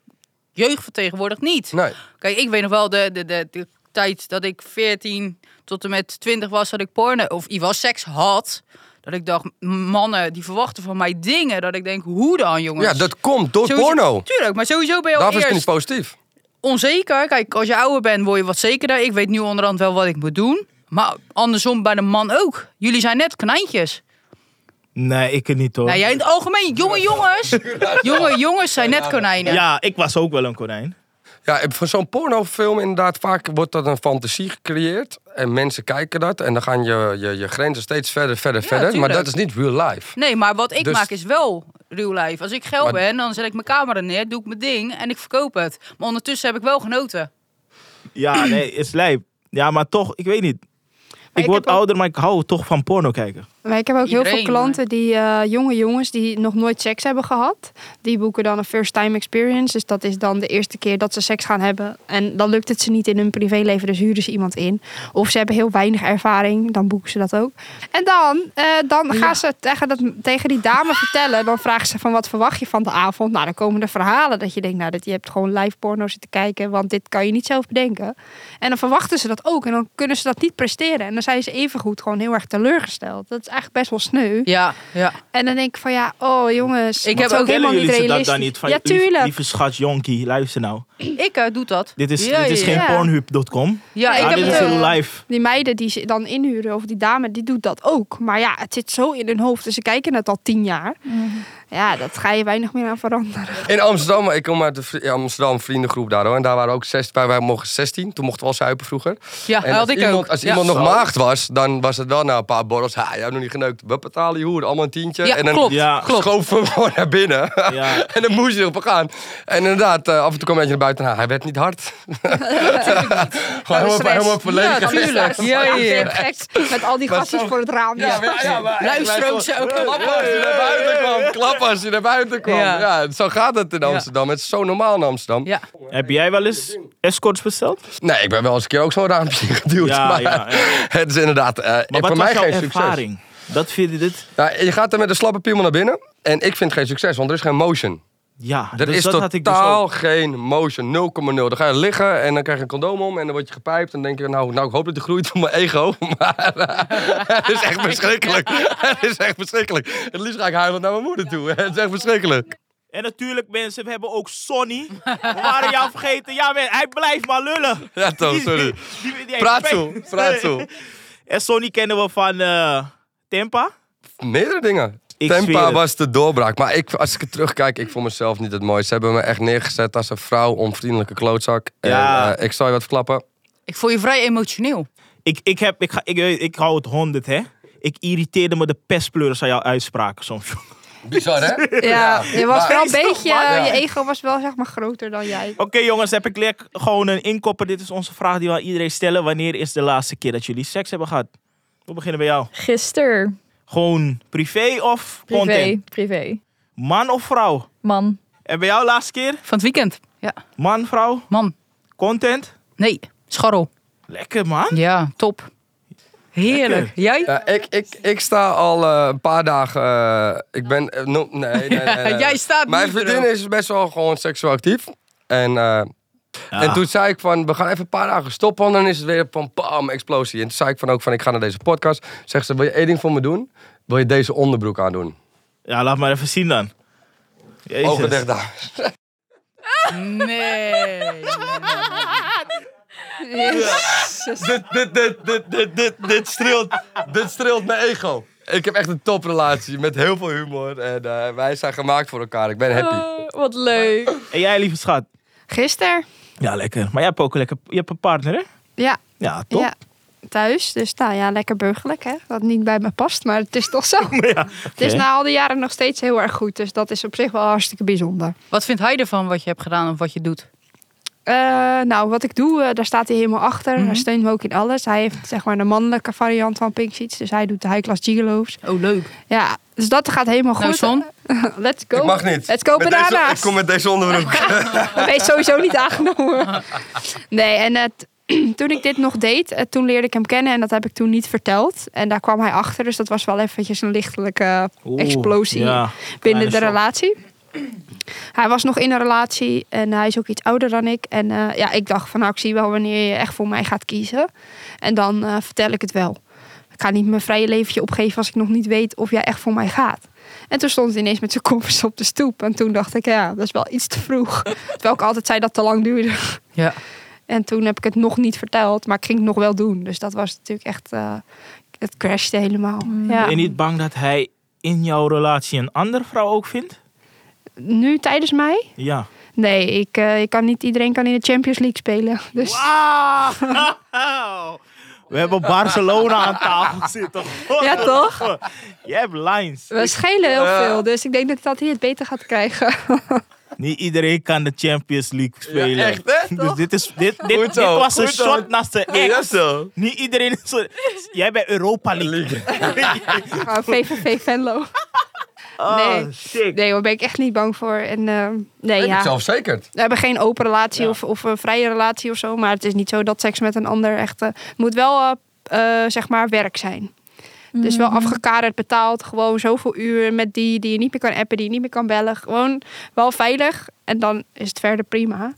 Speaker 2: jeugd vertegenwoordigt niet.
Speaker 4: Nee.
Speaker 2: Kijk, ik weet nog wel de, de, de, de tijd dat ik 14 tot en met 20 was, dat ik porno of ik was seks had. Dat ik dacht, m- mannen die verwachten van mij dingen. Dat ik denk, hoe dan, jongens?
Speaker 4: Ja, dat komt door
Speaker 2: Sowieso-
Speaker 4: porno.
Speaker 2: Tuurlijk, maar sowieso ben je al
Speaker 4: Daarvoor is
Speaker 2: eerst
Speaker 4: het niet positief.
Speaker 2: onzeker. Kijk, als je ouder bent, word je wat zekerder. Ik weet nu onderhand wel wat ik moet doen. Maar andersom bij de man ook. Jullie zijn net knijntjes.
Speaker 5: Nee, ik het niet hoor.
Speaker 2: Nou, jij in het algemeen, jonge jongens. Jonge jongens zijn net konijnen.
Speaker 5: Ja, ik was ook wel een konijn.
Speaker 4: Ja, en voor zo'n pornofilm inderdaad, vaak wordt dat een fantasie gecreëerd. En mensen kijken dat. En dan gaan je, je, je grenzen steeds verder, verder,
Speaker 2: Ja,
Speaker 4: verder. Maar
Speaker 2: tuurlijk.
Speaker 4: dat is niet real life.
Speaker 2: Nee, maar wat ik
Speaker 4: Dus-
Speaker 2: maak is wel real life. Als ik geld
Speaker 4: Maar-
Speaker 2: ben, dan zet ik mijn camera neer, doe ik mijn ding en ik verkoop het. Maar ondertussen heb ik wel genoten.
Speaker 5: Ja, nee, is lijp. Ja, maar toch, ik weet niet. ik
Speaker 1: ik
Speaker 5: word
Speaker 1: heb ook-
Speaker 5: ouder, maar ik hou toch van porno kijken.
Speaker 1: Maar ik heb ook heel
Speaker 2: Iedereen,
Speaker 1: veel klanten die eh, jonge jongens die nog nooit seks hebben gehad. Die boeken dan een first time experience. Dus dat is dan de eerste keer dat ze seks gaan hebben. En dan lukt het ze niet in hun privéleven, dus huren ze iemand in. Of ze hebben heel weinig ervaring, dan boeken ze dat ook. En dan, eh, dan gaan ze tegen, dat, tegen die dame vertellen. Dan vragen ze van wat verwacht je van de avond. Nou, dan komen er verhalen dat je denkt, nou, dat je hebt gewoon live porno zitten kijken. Want dit kan je niet zelf bedenken. En dan verwachten ze dat ook. En dan kunnen ze dat niet presteren. En dan zijn ze evengoed gewoon heel erg teleurgesteld. Dat is eigenlijk best wel sneu.
Speaker 2: Ja, ja.
Speaker 1: En dan denk ik van ja, oh jongens.
Speaker 2: Ik
Speaker 1: dat
Speaker 2: heb
Speaker 1: is
Speaker 2: ook-
Speaker 1: ook helemaal
Speaker 5: jullie
Speaker 1: niet
Speaker 5: ze dat
Speaker 1: realistisch.
Speaker 5: dan niet? Van,
Speaker 1: ja,
Speaker 5: lief-
Speaker 1: tuurlijk.
Speaker 5: lieve schat, jonkie, luister nou.
Speaker 2: Ik eh, doe dat.
Speaker 5: Dit is,
Speaker 2: ja,
Speaker 5: dit is
Speaker 2: ja,
Speaker 5: geen
Speaker 1: ja.
Speaker 5: pornhub.com.
Speaker 2: Ja,
Speaker 1: Nee,
Speaker 2: ik
Speaker 5: Ja,
Speaker 1: heb
Speaker 5: dit
Speaker 2: heb
Speaker 1: het,
Speaker 5: is
Speaker 1: eh,
Speaker 5: heel live.
Speaker 1: Die meiden die ze dan inhuren, of die dame, die doet dat ook. Maar ja, het zit zo in hun hoofd. Dus ze kijken het al tien jaar. Ja, dat ga je weinig meer aan veranderen.
Speaker 4: In Amsterdam, ik kom uit de vri- Amsterdam vriendengroep daar hoor. En daar waren ook zes, wij, wij mochten 16. Toen mochten we al zuipen vroeger.
Speaker 2: ja,
Speaker 4: En
Speaker 2: had
Speaker 4: als
Speaker 2: ik
Speaker 4: iemand,
Speaker 2: ook.
Speaker 4: Als
Speaker 2: Ja.
Speaker 4: iemand nog
Speaker 2: Zo.
Speaker 4: maagd was, dan was het wel na een paar borrels. Ha, jij hebt nog niet geneukt. We betalen je hoer, allemaal een tientje.
Speaker 2: Ja,
Speaker 4: eh, en dan
Speaker 2: klopt.
Speaker 5: Ja.
Speaker 2: klopt.
Speaker 4: schoven we gewoon naar binnen.
Speaker 5: Ja.
Speaker 4: en dan moest je erop gaan. En inderdaad, eh, af en toe kwam je naar buiten. Nou, hij werd niet hard. gewoon helemaal, helemaal volledig.
Speaker 2: Ja, tuurlijk. Ja, ja, ja.
Speaker 1: Met al die
Speaker 4: Maar
Speaker 1: gastjes
Speaker 4: zo-
Speaker 1: voor het raam. Ja,
Speaker 2: Luister ook ze ook.
Speaker 4: Klap als je naar buiten kwam. Klap als je naar buiten kwam.
Speaker 2: Ja.
Speaker 4: Ja. zo gaat het in Amsterdam. Het is zo normaal in Amsterdam.
Speaker 2: Ja.
Speaker 5: Heb jij wel eens escorts besteld?
Speaker 4: Nee, ik ben wel eens een keer ook zo'n raampje geduwd.
Speaker 5: Ja,
Speaker 4: maar
Speaker 5: ja, ja.
Speaker 4: het is inderdaad eh
Speaker 5: Maar
Speaker 4: voor
Speaker 5: wat
Speaker 4: mij
Speaker 5: was
Speaker 4: geen
Speaker 5: jouw
Speaker 4: succes.
Speaker 5: ervaring? Dat vind je dit?
Speaker 4: Nou, je gaat er met een slappe piemel naar binnen. En ik vind geen succes, want er is geen motion.
Speaker 5: Ja,
Speaker 4: Er
Speaker 5: dus
Speaker 4: is
Speaker 5: dat had ik dus
Speaker 4: totaal
Speaker 5: ook.
Speaker 4: geen motion, 0,0. Dan ga je liggen en dan krijg je een condoom om en dan word je gepijpt. En dan denk je, nou, nou ik hoop dat die groeit voor mijn ego. Maar eh, het is echt verschrikkelijk. Het is echt verschrikkelijk. Het liefst ga ik huilend naar mijn moeder toe. Het is echt verschrikkelijk.
Speaker 5: En natuurlijk mensen, we hebben ook Sonny. We waren jou vergeten. Ja, man, hij blijft maar lullen.
Speaker 4: Ja, Toon, sorry.
Speaker 5: Die- die- die-
Speaker 4: Praat zo, praat zo.
Speaker 5: En Sonny kennen we van eh Tempa.
Speaker 4: Meerdere dingen.
Speaker 5: Ik zweer
Speaker 4: Tempa
Speaker 5: het.
Speaker 4: was de doorbraak. Maar ik, als ik het terugkijk, ik vond mezelf niet het mooiste. Ze hebben me echt neergezet als een vrouw, onvriendelijke klootzak. En,
Speaker 5: Ja.
Speaker 4: eh, ik zal je wat verklappen.
Speaker 2: Ik voel je vrij emotioneel.
Speaker 5: Ik, ik, heb, ik, ga, ik, ik hou het honderd, hè. Ik irriteerde me de pestpleurs aan jouw uitspraken soms.
Speaker 4: Bizar, hè?
Speaker 1: Ja, je was
Speaker 4: maar-
Speaker 1: wel een
Speaker 5: Geestig,
Speaker 1: beetje,
Speaker 5: man.
Speaker 1: je ego was wel zeg maar groter dan jij.
Speaker 5: Oké jongens, heb ik lekker gewoon een inkopper. Dit is onze vraag die we aan iedereen stellen. Wanneer is de laatste keer dat jullie seks hebben gehad? We beginnen bij jou.
Speaker 3: Gisteren.
Speaker 5: Gewoon privé of
Speaker 3: Privé.
Speaker 5: content?
Speaker 3: Privé.
Speaker 5: Man of vrouw?
Speaker 3: Man.
Speaker 5: En bij jou laatste keer?
Speaker 2: Van het weekend. Ja.
Speaker 5: Man, vrouw?
Speaker 2: Man.
Speaker 5: Content?
Speaker 2: Nee. Scharrel.
Speaker 5: Lekker man.
Speaker 2: Ja, top. Heerlijk.
Speaker 5: Lekker.
Speaker 2: Jij?
Speaker 4: Ja, ik, ik, ik sta al eh, een paar dagen. eh, ik ben. eh, no- nee, nee, nee, nee, nee.
Speaker 2: Jij staat
Speaker 4: Mijn
Speaker 2: niet
Speaker 4: vriendin
Speaker 2: erop.
Speaker 4: is best wel gewoon seksueel actief. En, eh, en toen zei ik van, we gaan even een paar dagen stoppen. En dan is het weer van bam, explosie. En toen zei ik van ook van, ik ga naar deze podcast. Zegt ze, wil je één ding voor me doen? Wil je deze onderbroek aandoen?
Speaker 5: Ja, laat maar even zien dan. Jezus.
Speaker 4: Ogen dicht daar.
Speaker 2: Nee.
Speaker 4: dit, dit, dit, dit, dit, dit, dit streelt, dit streelt mijn ego. Ik heb echt een toprelatie met heel veel humor. En eh, wij zijn gemaakt voor elkaar. Ik ben happy.
Speaker 3: Oh, wat leuk.
Speaker 5: En jij lieve schat?
Speaker 1: Gisteren,
Speaker 5: Ja, lekker. Maar jij hebt ook een lekker... Je hebt een partner, hè?
Speaker 1: ja,
Speaker 5: Ja, top.
Speaker 1: ja, thuis. Dus nou ja, lekker burgerlijk hè. Wat niet bij me past, maar het is toch zo. Het is
Speaker 5: Oké.
Speaker 1: na al die jaren nog steeds heel erg goed. Dus dat is op zich wel hartstikke bijzonder.
Speaker 2: Wat vindt hij ervan wat je hebt gedaan of wat je doet?
Speaker 1: Eh, nou, wat ik doe, eh, daar staat hij helemaal achter.
Speaker 4: Mhm.
Speaker 1: Hij steunt me ook in alles. Hij heeft zeg maar de mannelijke variant van Pink Sheets. Dus hij doet de high-class gigolo's.
Speaker 2: Oh, leuk.
Speaker 1: Ja, dus dat gaat helemaal
Speaker 2: Nou,
Speaker 1: goed.
Speaker 2: Son.
Speaker 1: Let's go.
Speaker 4: Ik mag niet.
Speaker 1: Let's go
Speaker 4: Met
Speaker 1: bananas.
Speaker 4: deze- Ik kom met deze onderbroek.
Speaker 1: Dat ben je sowieso niet aangenomen. Nee, en het, toen ik dit nog deed, eh, toen leerde ik hem kennen en dat heb ik toen niet verteld. En daar kwam hij achter, dus dat was wel eventjes een lichtelijke
Speaker 5: Oeh,
Speaker 1: explosie
Speaker 5: ja.
Speaker 1: binnen de
Speaker 5: shock.
Speaker 1: relatie. Hij was nog in een relatie en hij is ook iets ouder dan ik. En eh, ja, ik dacht van nou, ik zie wel wanneer je echt voor mij gaat kiezen. En dan eh, vertel ik het wel. Ik ga niet mijn vrije leventje opgeven als ik nog niet weet of jij echt voor mij gaat. En toen stond hij ineens met zijn koffers op de stoep. En toen dacht ik, ja, dat is wel iets te vroeg. Terwijl ik altijd zei dat te lang duurde.
Speaker 2: Ja.
Speaker 1: En toen heb ik het nog niet verteld, maar ik ging het nog wel doen. Dus dat was natuurlijk echt, eh, het crashte helemaal. Ja.
Speaker 5: Ben je niet bang dat hij in jouw relatie een andere vrouw ook vindt?
Speaker 1: Nu tijdens mij?
Speaker 5: Ja.
Speaker 1: Nee, ik, eh, ik kan niet, iedereen kan in de Champions League spelen. Dus
Speaker 5: Wauw! We hebben Barcelona aan tafel zitten.
Speaker 1: Ja, toch?
Speaker 5: Jij hebt lines.
Speaker 1: we schelen heel veel. Dus ik denk dat ik dat hier het beter gaat krijgen.
Speaker 5: Niet iedereen kan de Champions League spelen.
Speaker 4: echt, hè?
Speaker 5: Dus dit, is, dit, dit,
Speaker 4: Goed
Speaker 5: dit
Speaker 4: zo,
Speaker 5: was een
Speaker 4: goed zo.
Speaker 5: shot naast de ex.
Speaker 4: zo.
Speaker 5: Niet iedereen is... zo- Jij bent Europa League.
Speaker 1: Oh, VVV Venlo. Nee.
Speaker 5: Oh, shit.
Speaker 1: Nee, daar ben ik echt niet bang voor. En, eh, nee,
Speaker 4: Ik
Speaker 1: ja.
Speaker 4: ben zelfverzekerd.
Speaker 1: We hebben geen open relatie of, of een vrije relatie of zo. Maar het is niet zo dat seks met een ander echt... eh, Het moet wel, eh, eh, zeg maar, werk zijn. Dus wel afgekaderd, betaald. Gewoon zoveel uur met die die je niet meer kan appen, die je niet meer kan bellen. Gewoon wel veilig. En dan is het verder prima.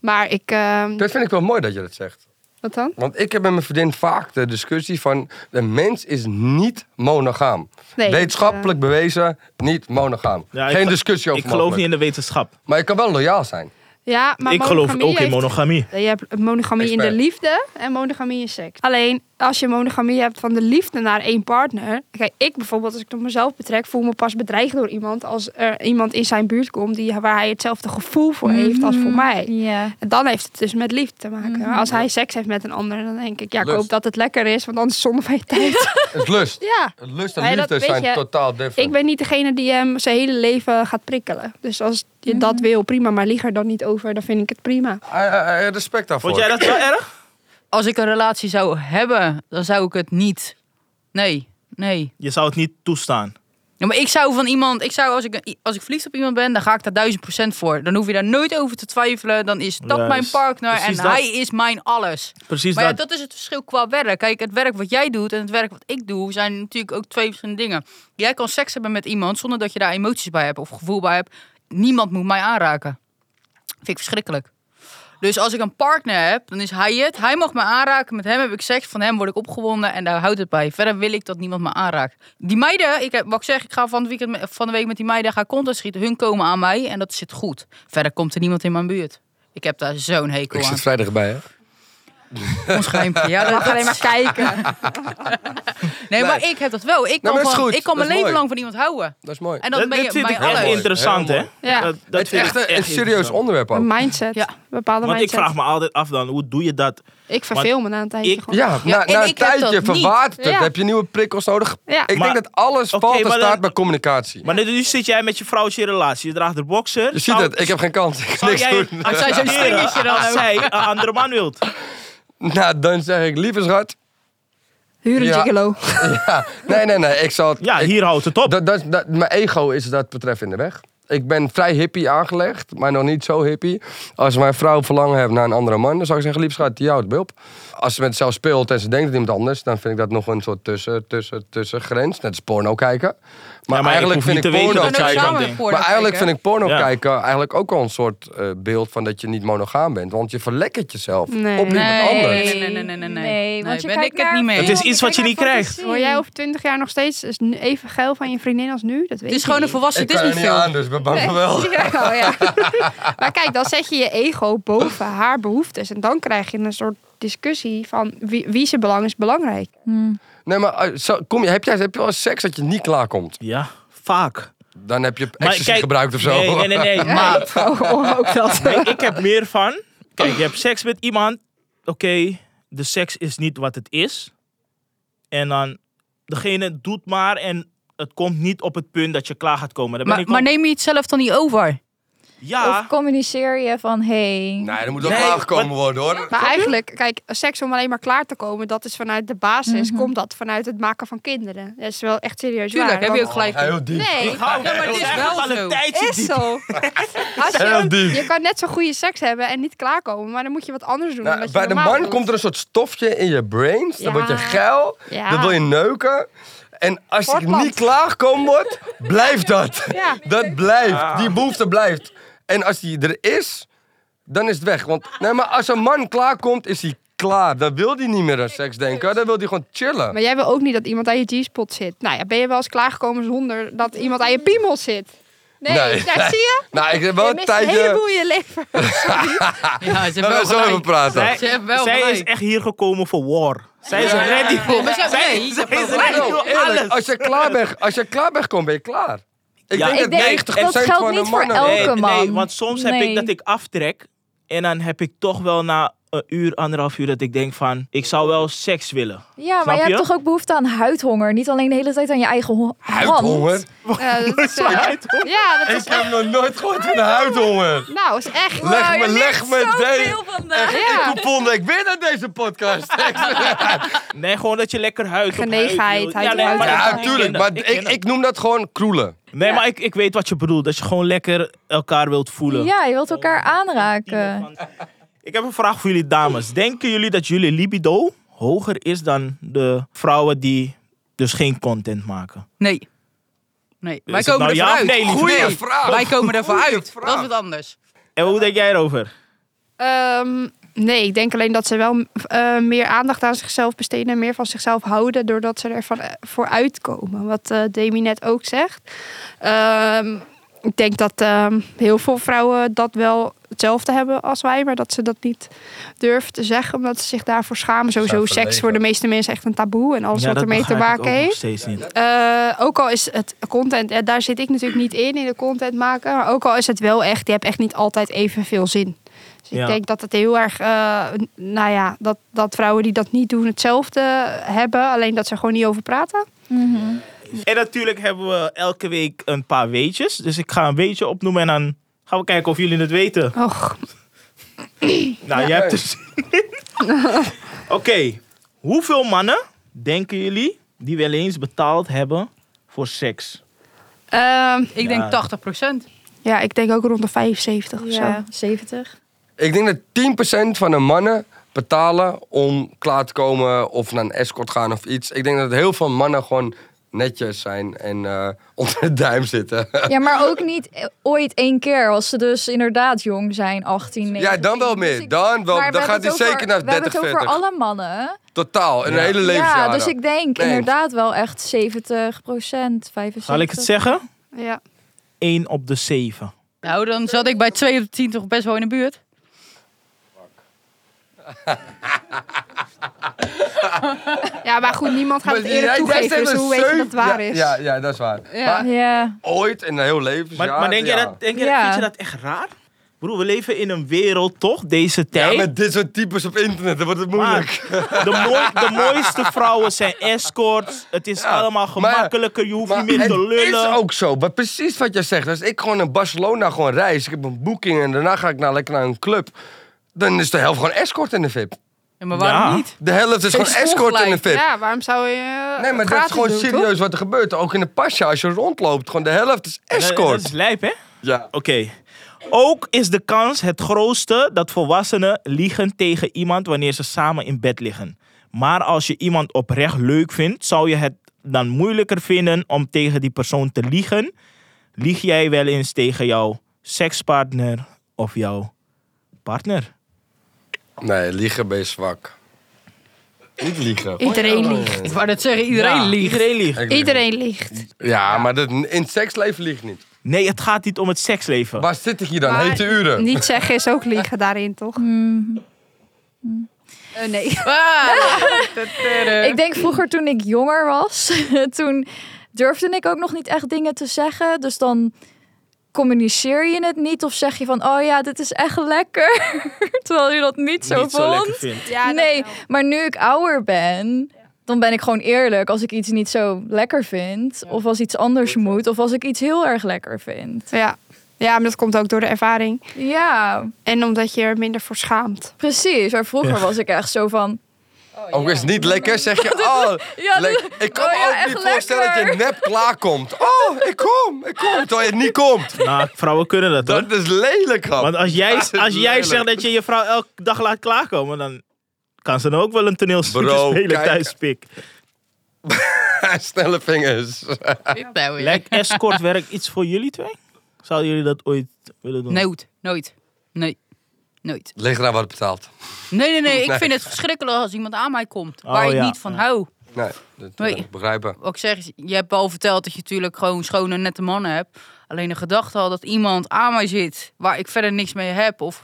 Speaker 1: Maar ik... eh,
Speaker 4: Dat vind ik wel mooi dat je dat zegt.
Speaker 1: wat dan?
Speaker 4: Want ik heb met mijn vriendin vaak de discussie van... de mens is niet monogaam.
Speaker 1: Nee,
Speaker 4: Wetenschappelijk bewezen, niet monogaam.
Speaker 5: Ja, ik
Speaker 4: Geen
Speaker 5: gel-
Speaker 4: discussie
Speaker 5: Ik
Speaker 4: over
Speaker 5: geloof
Speaker 4: mogelijk.
Speaker 5: niet in de wetenschap.
Speaker 4: Maar je kan wel loyaal zijn.
Speaker 1: Ja, maar
Speaker 5: ik geloof
Speaker 1: monogamie
Speaker 5: ook in
Speaker 1: heeft-
Speaker 5: monogamie.
Speaker 1: Je hebt monogamie in de
Speaker 4: Expert.
Speaker 1: liefde en monogamie in seks. Alleen als je monogamie hebt van de liefde naar één partner. Kijk, ik bijvoorbeeld, als ik het op mezelf betrek, voel me pas bedreigd door iemand als er iemand in zijn buurt komt die, waar hij hetzelfde gevoel voor heeft als voor mij.
Speaker 3: Ja.
Speaker 1: En dan heeft het dus met liefde te maken. Maar Als hij seks heeft met een ander, dan denk ik, ja, ik
Speaker 4: Lust.
Speaker 1: hoop dat het lekker is, want anders is het zonde van je tijd.
Speaker 4: Het is lust.
Speaker 1: ja.
Speaker 4: Het Lust en
Speaker 1: Nee, dat
Speaker 4: liefde
Speaker 1: weet
Speaker 4: zijn
Speaker 1: je.
Speaker 4: totaal different.
Speaker 1: Ik ben niet degene die hem zijn hele leven gaat prikkelen. Dus als je dat wil, prima. Maar lieg er dan niet over, dan vind ik het prima.
Speaker 4: Ah, ah, ah, respect daarvoor.
Speaker 5: Vond jij dat wel erg?
Speaker 2: Als ik een relatie zou hebben, dan zou ik het niet. Nee, nee.
Speaker 5: Je zou het niet toestaan.
Speaker 2: Ja, maar ik zou van iemand, ik zou als ik, als ik verliefd op iemand ben, dan ga ik daar duizend procent voor. Dan hoef je daar nooit over te twijfelen. Dan is dat
Speaker 5: Juist.
Speaker 2: mijn partner en
Speaker 5: Precies dat.
Speaker 2: hij is mijn alles.
Speaker 5: Precies
Speaker 2: maar ja,
Speaker 5: dat.
Speaker 2: dat is het verschil qua werk. Kijk, het werk wat jij doet en het werk wat ik doe zijn natuurlijk ook twee verschillende dingen. Jij kan seks hebben met iemand zonder dat je daar emoties bij hebt of gevoel bij hebt. niemand moet mij aanraken. Vind ik verschrikkelijk. Dus als ik een partner heb, dan is hij het. Hij mag me aanraken. Met hem heb ik seks. Van hem word ik opgewonden. En daar houdt het bij. Verder wil ik dat niemand me aanraakt. Die meiden, ik, heb- wat ik zeg, ik ga van, het weekend, met- van de week met die meiden gaan content schieten. Hun komen aan mij en dat zit goed. Verder komt er niemand in mijn buurt. Ik heb daar zo'n hekel
Speaker 4: Ik
Speaker 2: aan.
Speaker 4: zit vrijdag bij, hè?
Speaker 2: Ons geheimpje. Ja,
Speaker 3: mag
Speaker 2: dat-
Speaker 3: alleen maar kijken.
Speaker 2: nee, maar ik heb dat wel. Ik
Speaker 4: maar
Speaker 2: kan,
Speaker 4: dat is
Speaker 2: van,
Speaker 4: goed.
Speaker 2: ik kan
Speaker 4: Dat
Speaker 2: mijn
Speaker 4: is
Speaker 2: leven
Speaker 4: mooi.
Speaker 2: lang van iemand houden.
Speaker 4: Dat is mooi.
Speaker 2: En dat
Speaker 5: Dat,
Speaker 2: ben
Speaker 5: dat
Speaker 2: je
Speaker 5: vind
Speaker 2: bij
Speaker 5: ik echt
Speaker 2: alles.
Speaker 4: mooi.
Speaker 5: interessant,
Speaker 4: Heel
Speaker 5: hè?
Speaker 4: mooi.
Speaker 1: Ja.
Speaker 5: Dat,
Speaker 4: het
Speaker 5: dat
Speaker 4: is
Speaker 5: vind ik
Speaker 4: echt een, een serieus
Speaker 5: interessant.
Speaker 4: onderwerp ook.
Speaker 1: Een mindset.
Speaker 2: Ja.
Speaker 1: Een bepaalde
Speaker 5: Want ik
Speaker 1: mindset.
Speaker 5: vraag me altijd af dan, hoe doe je dat?
Speaker 1: Ik verveel me na een tijdje
Speaker 5: ik-
Speaker 1: gewoon.
Speaker 4: Ja,
Speaker 2: Ja,
Speaker 4: na,
Speaker 2: en
Speaker 4: na een
Speaker 2: ik heb dat
Speaker 4: tijdje
Speaker 2: niet.
Speaker 4: verwaart het.
Speaker 1: Ja.
Speaker 4: Heb je nieuwe prikkels nodig?
Speaker 1: Ja.
Speaker 4: Ik
Speaker 5: Maar-
Speaker 4: denk dat alles
Speaker 5: Oké,
Speaker 4: valt en
Speaker 5: maar
Speaker 4: staat
Speaker 5: dan-
Speaker 4: bij communicatie.
Speaker 5: Maar nu, nu zit jij met je vrouw in je relatie. Je draagt de boxer.
Speaker 4: Je ziet het, ik heb geen kans. Ik kan
Speaker 5: Zou
Speaker 4: niks
Speaker 5: jij
Speaker 4: doen.
Speaker 5: het
Speaker 2: zij zo'n
Speaker 5: accepteren
Speaker 2: stringetje dan
Speaker 5: als
Speaker 2: ook?
Speaker 5: zij een andere man wilt?
Speaker 4: Nou, dan zeg ik, lieve schat.
Speaker 1: Huur een
Speaker 4: Ja.
Speaker 1: gigolo.
Speaker 4: Ja, nee, nee, nee. Ik zal het,
Speaker 5: Ja,
Speaker 4: ik-
Speaker 5: hier houdt het op.
Speaker 4: dat, dat, dat- mijn ego is dat betreft in de weg. Ik ben vrij hippie aangelegd, maar nog niet zo hippie. Als mijn vrouw verlangen heeft naar een andere man, dan zou ik zeggen, lief schat, die houdt bij op. Als ze met zelf speelt en ze denkt dat iemand anders, dan vind ik dat nog een soort tussen, tussen, tussengrens. Net als porno kijken. Maar,
Speaker 5: Ja, maar
Speaker 4: eigenlijk
Speaker 5: ik hoef
Speaker 4: vind ik
Speaker 5: niet te weten
Speaker 4: porno
Speaker 5: dat zij
Speaker 4: kijken...
Speaker 5: dat ding.
Speaker 4: Maar eigenlijk vind ik porno
Speaker 5: Ja.
Speaker 4: kijken eigenlijk ook al een soort eh, beeld van dat je niet monogaam bent. Want je verlekkert jezelf
Speaker 1: Nee.
Speaker 4: op iemand
Speaker 2: Nee,
Speaker 4: anders.
Speaker 2: nee, nee, nee, nee, nee. Nee,
Speaker 3: want je
Speaker 2: ben
Speaker 3: kijkt
Speaker 2: ik het
Speaker 3: naar
Speaker 2: niet mee.
Speaker 5: Het
Speaker 3: film,
Speaker 5: is iets wat je
Speaker 3: kijkt
Speaker 5: niet
Speaker 3: naar
Speaker 5: krijgt.
Speaker 3: fantasie.
Speaker 1: Word jij over 20 jaar nog steeds is nu even geil van je vriendin als nu? Dat weet
Speaker 2: Het is
Speaker 1: je
Speaker 2: gewoon een
Speaker 1: niet.
Speaker 2: volwassen Disney-film.
Speaker 4: dus we bang wel.
Speaker 1: Ja, oh ja. maar kijk, dan zet je je ego boven haar behoeftes. En dan krijg je een soort discussie van wie, wie zijn belang is belangrijk.
Speaker 4: Nee, maar eh, zo- kom je, heb, jij, heb je wel eens seks dat je niet klaarkomt?
Speaker 5: Ja, vaak.
Speaker 4: Dan heb je
Speaker 5: Maar
Speaker 4: ecstasy
Speaker 5: kijk-
Speaker 4: gebruikt of zo.
Speaker 5: Nee, nee, nee. nee. Maar
Speaker 1: Oh, ook dat.
Speaker 5: Nee, ik heb meer van. Kijk, je hebt seks met iemand. Oké, de seks is niet wat het is. En dan, degene doet maar en het komt niet op het punt dat je klaar gaat komen. Dan ben
Speaker 2: Maar,
Speaker 5: ik
Speaker 2: maar
Speaker 5: ook-
Speaker 2: neem je het zelf dan niet over?
Speaker 5: Ja,
Speaker 2: Ah.
Speaker 3: Of communiceer je van, hey,
Speaker 4: Nee, er moet
Speaker 5: ook
Speaker 4: ook
Speaker 5: Nee, klaargekomen
Speaker 4: klaargekomen
Speaker 5: wat-
Speaker 4: worden hoor.
Speaker 1: Maar eigenlijk, kijk, seks om alleen maar klaar te komen, dat is vanuit de basis, komt dat vanuit het maken van kinderen. Dat is wel echt serieus
Speaker 2: Mhm. Tuurlijk,
Speaker 1: waar.
Speaker 2: heb je ook
Speaker 1: want-
Speaker 2: gelijk.
Speaker 4: Heel diep.
Speaker 1: Nee,
Speaker 5: ik hou
Speaker 2: Ja, maar
Speaker 5: het
Speaker 2: het
Speaker 5: is
Speaker 2: is
Speaker 5: eigenlijk
Speaker 2: wel
Speaker 5: al een
Speaker 2: zo.
Speaker 5: tijdje
Speaker 1: is
Speaker 5: diep.
Speaker 1: zo. Als
Speaker 4: Heel
Speaker 1: je,
Speaker 4: diep.
Speaker 1: je kan net zo goede seks hebben en niet klaarkomen, maar dan moet je wat anders doen. dan
Speaker 4: Nou,
Speaker 1: wat je
Speaker 4: bij de
Speaker 1: normaal
Speaker 4: man
Speaker 1: doet.
Speaker 4: komt er een soort stofje in je brains. Dan
Speaker 1: Ja.
Speaker 4: word je geil.
Speaker 1: Ja.
Speaker 4: Dan wil je neuken. En als je
Speaker 1: Voortplant.
Speaker 4: niet klaarkomen wordt, blijft dat.
Speaker 1: Ja.
Speaker 4: Dat
Speaker 5: Ah.
Speaker 4: blijft. Die behoefte blijft. En als die er is, dan is het weg. Want nee, maar als een man klaarkomt, is hij klaar. Dan wil hij niet meer aan seks denken. Dan wil hij gewoon chillen.
Speaker 1: Maar jij wil ook niet dat iemand aan je G-spot zit. Nou ja, ben je wel eens klaargekomen zonder dat iemand aan je piemel zit? Nee,
Speaker 4: Nee.
Speaker 1: daar zie je.
Speaker 4: Nou, ik heb wel
Speaker 1: Je
Speaker 4: een
Speaker 1: mist een heleboel
Speaker 4: tijdje...
Speaker 1: in je leven.
Speaker 2: Ja, ze hebben
Speaker 4: Laten
Speaker 2: wel
Speaker 4: we zo even
Speaker 2: gelijk.
Speaker 4: praten.
Speaker 5: Zij,
Speaker 2: Ze hebben wel
Speaker 5: zij
Speaker 2: gelijk.
Speaker 5: is echt hier gekomen voor war. Zij is ready voor...
Speaker 2: Maar ze-
Speaker 5: Zij,
Speaker 2: nee, ze
Speaker 5: zij is
Speaker 2: hebben
Speaker 5: ready
Speaker 4: Bro,
Speaker 5: voor
Speaker 4: eerlijk,
Speaker 5: alles.
Speaker 4: als je klaar bent, als je klaar bent, kom ben je klaar. Ik
Speaker 5: Ja.
Speaker 4: denk
Speaker 5: Ik
Speaker 4: dat
Speaker 3: denk,
Speaker 4: 90
Speaker 3: dat geldt
Speaker 4: van de
Speaker 3: niet voor
Speaker 4: mannen...
Speaker 3: elke
Speaker 5: Nee, nee,
Speaker 3: man.
Speaker 5: want soms heb
Speaker 3: Nee.
Speaker 5: ik dat ik aftrek. En dan heb ik toch wel na een uur, anderhalf uur dat ik denk van... Ik zou wel seks willen.
Speaker 3: Ja,
Speaker 5: Snap
Speaker 3: maar je
Speaker 5: je?
Speaker 3: hebt toch ook behoefte aan huidhonger? Niet alleen de hele tijd aan je eigen ho- Oh,
Speaker 4: Huidhonger?
Speaker 3: hand.
Speaker 1: Ja, dat is, eh, ja, dat is
Speaker 4: Ik heb nog nooit gehoord van de huidhonger.
Speaker 1: Nou, is echt.
Speaker 4: Leg me, leg me, nee.
Speaker 3: Zoveel vandaag.
Speaker 1: Ja.
Speaker 4: Volgende week weer naar deze podcast.
Speaker 5: Nee, gewoon dat je lekker huid op
Speaker 1: Genegenheid,
Speaker 5: huid wil.
Speaker 1: huid op
Speaker 5: nee,
Speaker 1: huid.
Speaker 5: maar
Speaker 4: ja,
Speaker 5: dat- ik
Speaker 4: tuurlijk.
Speaker 5: ken dat,
Speaker 4: Maar
Speaker 5: ken
Speaker 4: ik,
Speaker 5: dat.
Speaker 4: ik noem dat gewoon kroelen.
Speaker 5: Nee, maar ik, ik weet wat je bedoelt. Dat je gewoon lekker elkaar wilt voelen.
Speaker 3: Ja, je wilt elkaar aanraken.
Speaker 5: Ik heb een vraag voor jullie dames. Denken jullie dat jullie libido hoger is dan de vrouwen die dus geen content maken?
Speaker 2: Nee. Nee, wij
Speaker 5: het
Speaker 2: komen
Speaker 5: nou
Speaker 2: er
Speaker 5: ja of
Speaker 2: vooruit.
Speaker 5: nee, lieve
Speaker 2: Goeie
Speaker 4: mensen?
Speaker 2: vraag. Wij komen er
Speaker 4: Goeie
Speaker 2: vooruit.
Speaker 4: vraag.
Speaker 2: Dat is wat anders.
Speaker 5: En hoe denk jij erover?
Speaker 1: Ehm, nee, ik denk alleen dat ze wel eh, meer aandacht aan zichzelf besteden en meer van zichzelf houden, doordat ze ervan eh, voor uitkomen. Wat eh, Demi net ook zegt. Ehm, ik denk dat ehm, heel veel vrouwen dat wel hetzelfde hebben als wij, maar dat ze dat niet durven te zeggen, omdat ze zich daarvoor schamen. Sowieso
Speaker 4: verlegen.
Speaker 1: seks voor de meeste mensen echt een taboe en alles wat ermee te maken
Speaker 5: Nog
Speaker 1: heeft.
Speaker 5: steeds niet.
Speaker 1: Eh, ook al is het content, ja, daar zit ik natuurlijk niet in, in de content maken. Maar ook al is het wel echt, je hebt echt niet altijd evenveel zin. Dus
Speaker 5: Ja.
Speaker 1: ik denk dat het heel erg, eh, n- nou ja, dat, dat vrouwen die dat niet doen hetzelfde hebben. Alleen dat ze er gewoon niet over praten.
Speaker 5: En natuurlijk hebben we elke week een paar weetjes. Dus ik ga een weetje opnoemen en dan gaan we kijken of jullie het weten.
Speaker 1: Och,
Speaker 5: Nou, jij hebt dus. Oké, hoeveel mannen denken jullie die wel eens betaald hebben voor seks?
Speaker 1: Ehm,
Speaker 2: Um, Ik
Speaker 5: Ja.
Speaker 2: denk 80
Speaker 1: ja, ik denk ook rond de 75 of zo.
Speaker 3: 70.
Speaker 4: Ik denk dat 10% van de mannen betalen om klaar te komen of naar een escort gaan of iets. Ik denk dat heel veel mannen gewoon netjes zijn en eh, onder de duim zitten.
Speaker 3: Ja, maar ook niet eh, ooit één keer. Als ze dus inderdaad jong zijn, 18, 19.
Speaker 4: ja, dan wel
Speaker 3: Dus
Speaker 4: meer.
Speaker 3: ik-
Speaker 4: Dan, wel,
Speaker 3: Maar we
Speaker 4: dan gaat
Speaker 3: hebben
Speaker 4: hij
Speaker 3: het over-
Speaker 4: zeker naar
Speaker 3: We hebben
Speaker 4: 30,
Speaker 3: het over
Speaker 4: 40.
Speaker 3: alle mannen.
Speaker 4: Totaal, een
Speaker 5: Ja.
Speaker 4: hele levensjaren.
Speaker 3: Ja, dus ik denk
Speaker 4: Nee.
Speaker 3: inderdaad wel echt 70 procent, 75.
Speaker 5: Zal ik het zeggen?
Speaker 1: Ja.
Speaker 5: 1 op de 7.
Speaker 2: Nou, dan zat ik bij 2 op 10 toch best wel in de buurt.
Speaker 1: ja, maar goed, niemand gaat
Speaker 4: Maar
Speaker 1: het
Speaker 4: jij-
Speaker 1: eerlijk
Speaker 4: jij
Speaker 1: toegeven.
Speaker 4: zegt
Speaker 1: Dus hoe weet je dat het waar
Speaker 4: ja,
Speaker 1: is?
Speaker 4: Ja, ja, dat is waar.
Speaker 2: Ja.
Speaker 4: Maar
Speaker 3: Ja.
Speaker 4: ooit in een heel levensjaar.
Speaker 5: Maar, maar denk jij
Speaker 4: ja.
Speaker 5: dat, denk jij,
Speaker 3: Ja.
Speaker 5: vind je dat echt raar? Broer, we leven in een wereld toch, deze tijd.
Speaker 4: Ja, met dit soort types op internet, dan wordt het moeilijk.
Speaker 5: Maar de, mooi- de mooiste vrouwen zijn escorts. Het is allemaal
Speaker 4: maar-
Speaker 5: gemakkelijker. je hoeft
Speaker 4: Maar
Speaker 5: niet meer
Speaker 4: het
Speaker 5: te lullen.
Speaker 4: is ook zo. Maar precies wat jij zegt. Als ik gewoon in Barcelona gewoon reis, ik heb een boeking en daarna ga ik naar, lekker naar een club. Dan is de helft gewoon escort in de VIP.
Speaker 2: Ja, maar waarom
Speaker 5: Ja.
Speaker 2: niet?
Speaker 4: De helft is gewoon
Speaker 2: is
Speaker 4: escort in de
Speaker 2: ongelijk.
Speaker 4: VIP.
Speaker 1: Ja, waarom zou je. eh,
Speaker 4: Nee, maar dat is
Speaker 1: gratis
Speaker 4: gewoon
Speaker 1: doen, toch?
Speaker 4: serieus wat er gebeurt. Ook in de pasja, als je rondloopt, gewoon de helft is
Speaker 5: Dat-
Speaker 4: escort.
Speaker 5: Dat is lijp, hè?
Speaker 4: Ja.
Speaker 5: Oké. Ook is de kans het grootste dat volwassenen liegen tegen iemand wanneer ze samen in bed liggen. Maar als je iemand oprecht leuk vindt, zou je het dan moeilijker vinden om tegen die persoon te liegen. Lieg jij wel eens tegen jouw sekspartner of jouw partner?
Speaker 4: Nee, liegen ben je zwak. Niet liegen.
Speaker 1: Iedereen liegt.
Speaker 2: Ik wou net zeggen, iedereen
Speaker 5: Ja,
Speaker 2: liegt.
Speaker 5: Iedereen liegt.
Speaker 4: Ik lieg.
Speaker 1: Iedereen liegt.
Speaker 4: Ja, maar dat, in het seksleven liegt niet.
Speaker 5: Nee, het gaat niet om het seksleven.
Speaker 4: Waar zit ik hier dan?
Speaker 1: Maar-
Speaker 4: Hete uren.
Speaker 1: Niet zeggen is ook liegen daarin, toch?
Speaker 2: Eh, nee. Ah.
Speaker 3: Ik denk vroeger toen ik jonger was, toen durfde ik ook nog niet echt dingen te zeggen. Dus dan communiceer je het niet of zeg je van, oh ja, dit is echt lekker. Terwijl je dat niet zo
Speaker 5: niet zo
Speaker 3: vond.
Speaker 5: lekker vindt.
Speaker 1: Ja,
Speaker 3: nee, maar nu ik ouder ben, dan ben ik gewoon eerlijk als ik iets niet zo lekker vind. Of als iets anders moet. Of als ik iets heel erg lekker vind.
Speaker 1: Ja. ja, maar dat komt ook door de ervaring.
Speaker 3: Ja,
Speaker 1: En omdat je er minder voor schaamt.
Speaker 3: precies. Maar vroeger
Speaker 5: Ja.
Speaker 3: was ik echt zo van,
Speaker 4: Ook is het niet lekker, zeg je. Oh,
Speaker 3: ja,
Speaker 4: lek-
Speaker 3: dit-
Speaker 4: ik kan
Speaker 3: oh
Speaker 4: me
Speaker 3: ja,
Speaker 4: ook
Speaker 3: echt
Speaker 4: niet voorstellen dat je
Speaker 3: lekker.
Speaker 4: nep klaarkomt. Oh, ik kom, ik kom. Terwijl je niet komt.
Speaker 5: Nou, vrouwen kunnen dat hoor.
Speaker 4: Dat is lelijk, grap.
Speaker 5: Want als jij,
Speaker 4: Oh. dat is
Speaker 5: als jij
Speaker 4: lelijk.
Speaker 5: zegt dat je je vrouw elke dag laat klaarkomen, dan kan ze dan ook wel een toneelstukje
Speaker 4: Bro,
Speaker 5: spelen
Speaker 4: kijk.
Speaker 5: thuis, pik.
Speaker 4: Snelle vingers.
Speaker 2: nou,
Speaker 5: Lijkt escortwerk iets voor jullie twee? Zouden jullie dat ooit willen doen?
Speaker 2: Nooit, nooit. Nee. Nooit.
Speaker 4: Ligt eraan wat betaald.
Speaker 2: Nee, nee, nee. Ik
Speaker 4: Nee.
Speaker 2: vind het verschrikkelijk als iemand aan mij komt.
Speaker 5: Oh,
Speaker 2: Waar ik
Speaker 5: ja.
Speaker 2: niet van hou.
Speaker 4: Nee, dat kan
Speaker 2: Nee.
Speaker 4: ik begrijpen.
Speaker 2: Wat ik zeg is, je hebt al verteld dat je natuurlijk gewoon schone, nette mannen hebt. Alleen de gedachte al dat iemand aan mij zit waar ik verder niks mee heb. Of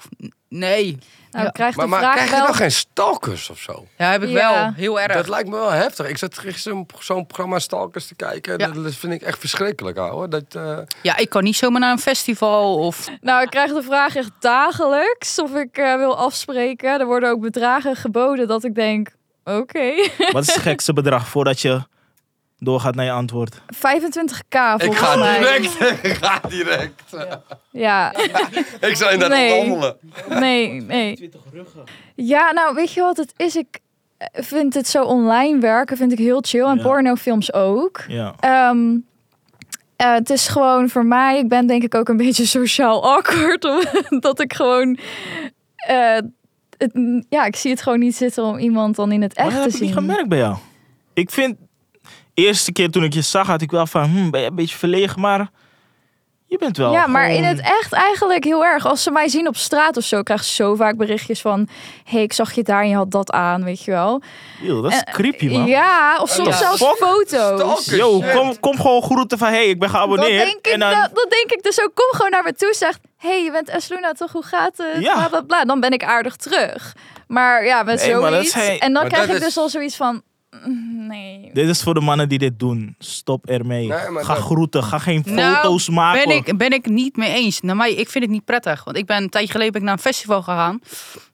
Speaker 2: nee.
Speaker 3: Nou, ik krijg
Speaker 4: Maar,
Speaker 3: de
Speaker 4: maar
Speaker 3: vraag
Speaker 4: krijg je
Speaker 3: wel...
Speaker 4: dan geen stalkers of zo?
Speaker 2: Ja, heb ik
Speaker 3: Ja.
Speaker 2: wel. Heel erg.
Speaker 4: Dat lijkt me wel heftig. Ik zat gisteren op zo'n programma Stalkers te kijken.
Speaker 2: Ja.
Speaker 4: Dat vind ik echt verschrikkelijk, ouwe. Dat, eh,
Speaker 2: Ja, ik kan niet zomaar naar een festival of...
Speaker 3: Nou, ik krijg de vraag echt dagelijks of ik eh, wil afspreken. Er worden ook bedragen geboden dat ik denk, oké.
Speaker 5: Wat is het gekste bedrag voordat je doorgaat naar je antwoord?
Speaker 3: 25k volgens
Speaker 4: ik ga
Speaker 3: mij.
Speaker 4: direct. ik ga direct.
Speaker 3: Ja,
Speaker 4: Ik zou inderdaad
Speaker 3: Nee.
Speaker 4: wandelen.
Speaker 3: nee, nee. Ja, nou, weet je wat het is? Ik eh, vind het zo online werken vind ik heel chill. En
Speaker 5: Ja.
Speaker 3: pornofilms ook.
Speaker 5: Ja.
Speaker 3: Ehm, eh, het is gewoon voor mij, ik ben denk ik ook een beetje sociaal awkward. Omdat ik gewoon... eh, het, ja, ik zie het gewoon niet zitten om iemand dan in het
Speaker 5: Maar
Speaker 3: echt
Speaker 5: dat
Speaker 3: te
Speaker 5: heb ik
Speaker 3: zien.
Speaker 5: niet gemerkt bij jou. Ik vind, eerste keer toen ik je zag, had ik wel van, hmm, ben je een beetje verlegen, maar je bent wel
Speaker 3: Ja, maar in
Speaker 5: gewoon-
Speaker 3: het echt eigenlijk heel erg. Als ze mij zien op straat of zo, ik krijg zo vaak berichtjes van... hey, ik zag je daar en je had dat aan, weet je wel.
Speaker 5: Eeuw, dat is creepy, man.
Speaker 3: eh, Ja, of soms
Speaker 5: Ja.
Speaker 3: zelfs
Speaker 5: Fuck.
Speaker 3: foto's.
Speaker 4: Stalkers.
Speaker 5: Yo,
Speaker 4: shit.
Speaker 5: kom, kom gewoon groeten van, hey, ik ben
Speaker 3: Dat
Speaker 5: geabonneerd.
Speaker 3: denk, ik,
Speaker 5: en dan,
Speaker 3: dat, dat denk ik dus ook. Kom gewoon naar me toe, zegt... hey, je bent Esluna toch? Hoe gaat het?
Speaker 5: Ja.
Speaker 3: Bla, bla, bla. Dan ben ik aardig terug. Maar ja, met
Speaker 5: Nee, maar dat
Speaker 3: zoiets.
Speaker 5: is hij-
Speaker 3: En dan
Speaker 4: Maar
Speaker 3: krijg
Speaker 4: dat
Speaker 3: ik
Speaker 4: is-
Speaker 3: dus al zoiets van... mm, Nee.
Speaker 5: Dit is voor de mannen die dit doen. Stop ermee.
Speaker 4: Nee, maar
Speaker 5: ga
Speaker 4: dat-
Speaker 5: groeten. Ga geen
Speaker 2: Nou,
Speaker 5: foto's maken.
Speaker 2: Ben ik, ben ik niet mee eens. Nou, maar ik vind het niet prettig. Want ik ben een tijdje geleden ben ik naar een festival gegaan,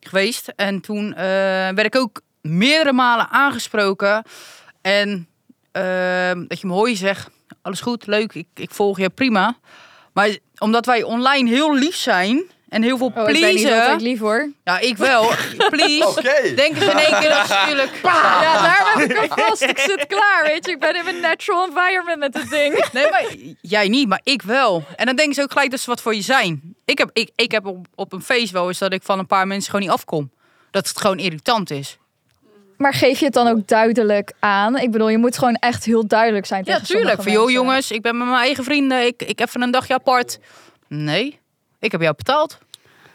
Speaker 2: geweest. En toen eh, werd ik ook meerdere malen aangesproken. En eh, dat je me hoor je zegt, alles goed, leuk, ik, ik volg je, prima. Maar omdat wij online heel lief zijn en heel veel
Speaker 3: Oh, ik ben niet altijd
Speaker 2: pleasen...
Speaker 3: lief, hoor.
Speaker 2: Ja, ik wel. Please.
Speaker 4: Oké.
Speaker 2: Denken ze in één keer dat ze natuurlijk...
Speaker 3: Ja, daar heb ik al vast. Ik zit klaar, weet je. Ik ben in mijn natural environment met dit ding.
Speaker 2: Nee, maar jij niet, maar ik wel. En dan denken ze ook gelijk dat ze wat voor je zijn. Ik heb, ik, ik heb op, op een feest wel eens dat ik van een paar mensen gewoon niet afkom. Dat het gewoon irritant is.
Speaker 3: Maar geef je het dan ook duidelijk aan? Ik bedoel, je moet gewoon echt heel duidelijk zijn
Speaker 2: Ja,
Speaker 3: tegen sommige
Speaker 2: tuurlijk. Van, joh
Speaker 3: mensen.
Speaker 2: jongens, ik ben met mijn eigen vrienden. Ik, ik even een dagje apart. Nee, ik heb jou betaald.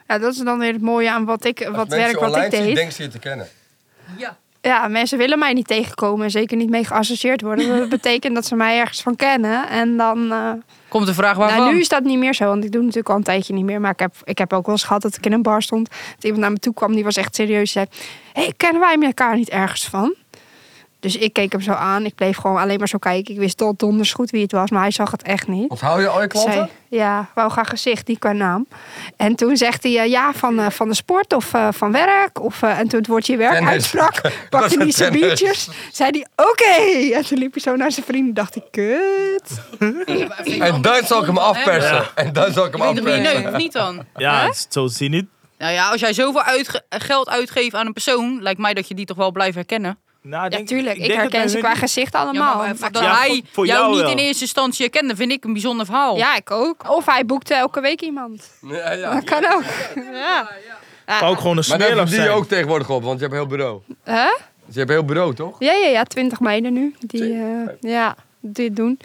Speaker 1: Ja, dat is dan weer het mooie aan wat, ik, wat werk wat ik deed.
Speaker 4: denk ze je te kennen.
Speaker 2: Ja.
Speaker 1: Ja, mensen willen mij niet tegenkomen en zeker niet mee geassocieerd worden. Dat betekent dat ze mij ergens van kennen. En dan. eh,
Speaker 2: Komt de vraag waarvan?
Speaker 1: nou, nu is dat niet meer zo, want ik doe natuurlijk al een tijdje niet meer. Maar ik heb, ik heb ook wel eens gehad dat ik in een bar stond. Dat iemand naar me toe kwam, die was echt serieus. Die zei: hey, kennen wij elkaar niet ergens van? Dus ik keek hem zo aan. Ik bleef gewoon alleen maar zo kijken. Ik wist tot donders goed wie het was, maar hij zag het echt niet.
Speaker 4: Onthoud je al je klanten?
Speaker 1: Zei, ja, wou graag gezicht, niet qua naam. En toen zegt hij, eh, ja, van, eh, van de sport of eh, van werk. Of, eh, en toen het woordje werk
Speaker 4: Tennis.
Speaker 1: uitsprak,
Speaker 4: was
Speaker 1: pakte hij
Speaker 4: het
Speaker 1: zijn
Speaker 4: tennis.
Speaker 1: biertjes. Zei hij, oké. En toen liep hij zo naar zijn vrienden. Dacht ik, kut.
Speaker 4: En dan zal ik hem afpersen. En dan zal ik hem
Speaker 2: Ik weet niet of je
Speaker 4: afpersen.
Speaker 2: neukt, of niet dan?
Speaker 5: Ja, het is- zo zie je niet.
Speaker 2: Nou ja, als jij zoveel uitge- geld uitgeeft aan een persoon, lijkt mij dat je die toch wel blijft herkennen.
Speaker 5: Nou,
Speaker 1: Ja,
Speaker 5: denk-
Speaker 1: tuurlijk. Ik,
Speaker 5: denk dat
Speaker 1: herken
Speaker 5: bij
Speaker 1: ze
Speaker 5: hun
Speaker 1: qua
Speaker 5: niet-
Speaker 1: gezicht allemaal.
Speaker 2: Ja, maar,
Speaker 1: maar
Speaker 2: dat
Speaker 5: Ja,
Speaker 2: hij
Speaker 5: voor- voor
Speaker 2: jou,
Speaker 5: jou
Speaker 2: niet
Speaker 5: wel.
Speaker 2: in eerste instantie herkende, vind ik een bijzonder verhaal.
Speaker 1: ja, ik ook. Of hij boekte elke week iemand.
Speaker 4: Ja, ja.
Speaker 1: Dat kan ook. Ja.
Speaker 5: Kan ook gewoon een
Speaker 4: Maar daar
Speaker 5: smeerlap
Speaker 4: heb je die
Speaker 5: zijn.
Speaker 4: ook tegenwoordig op, want je hebt een heel bureau.
Speaker 1: Hè?
Speaker 4: Dus je hebt een heel bureau, toch?
Speaker 1: Ja, ja, ja, 20 meiden nu. Die eh, ja, dit doen.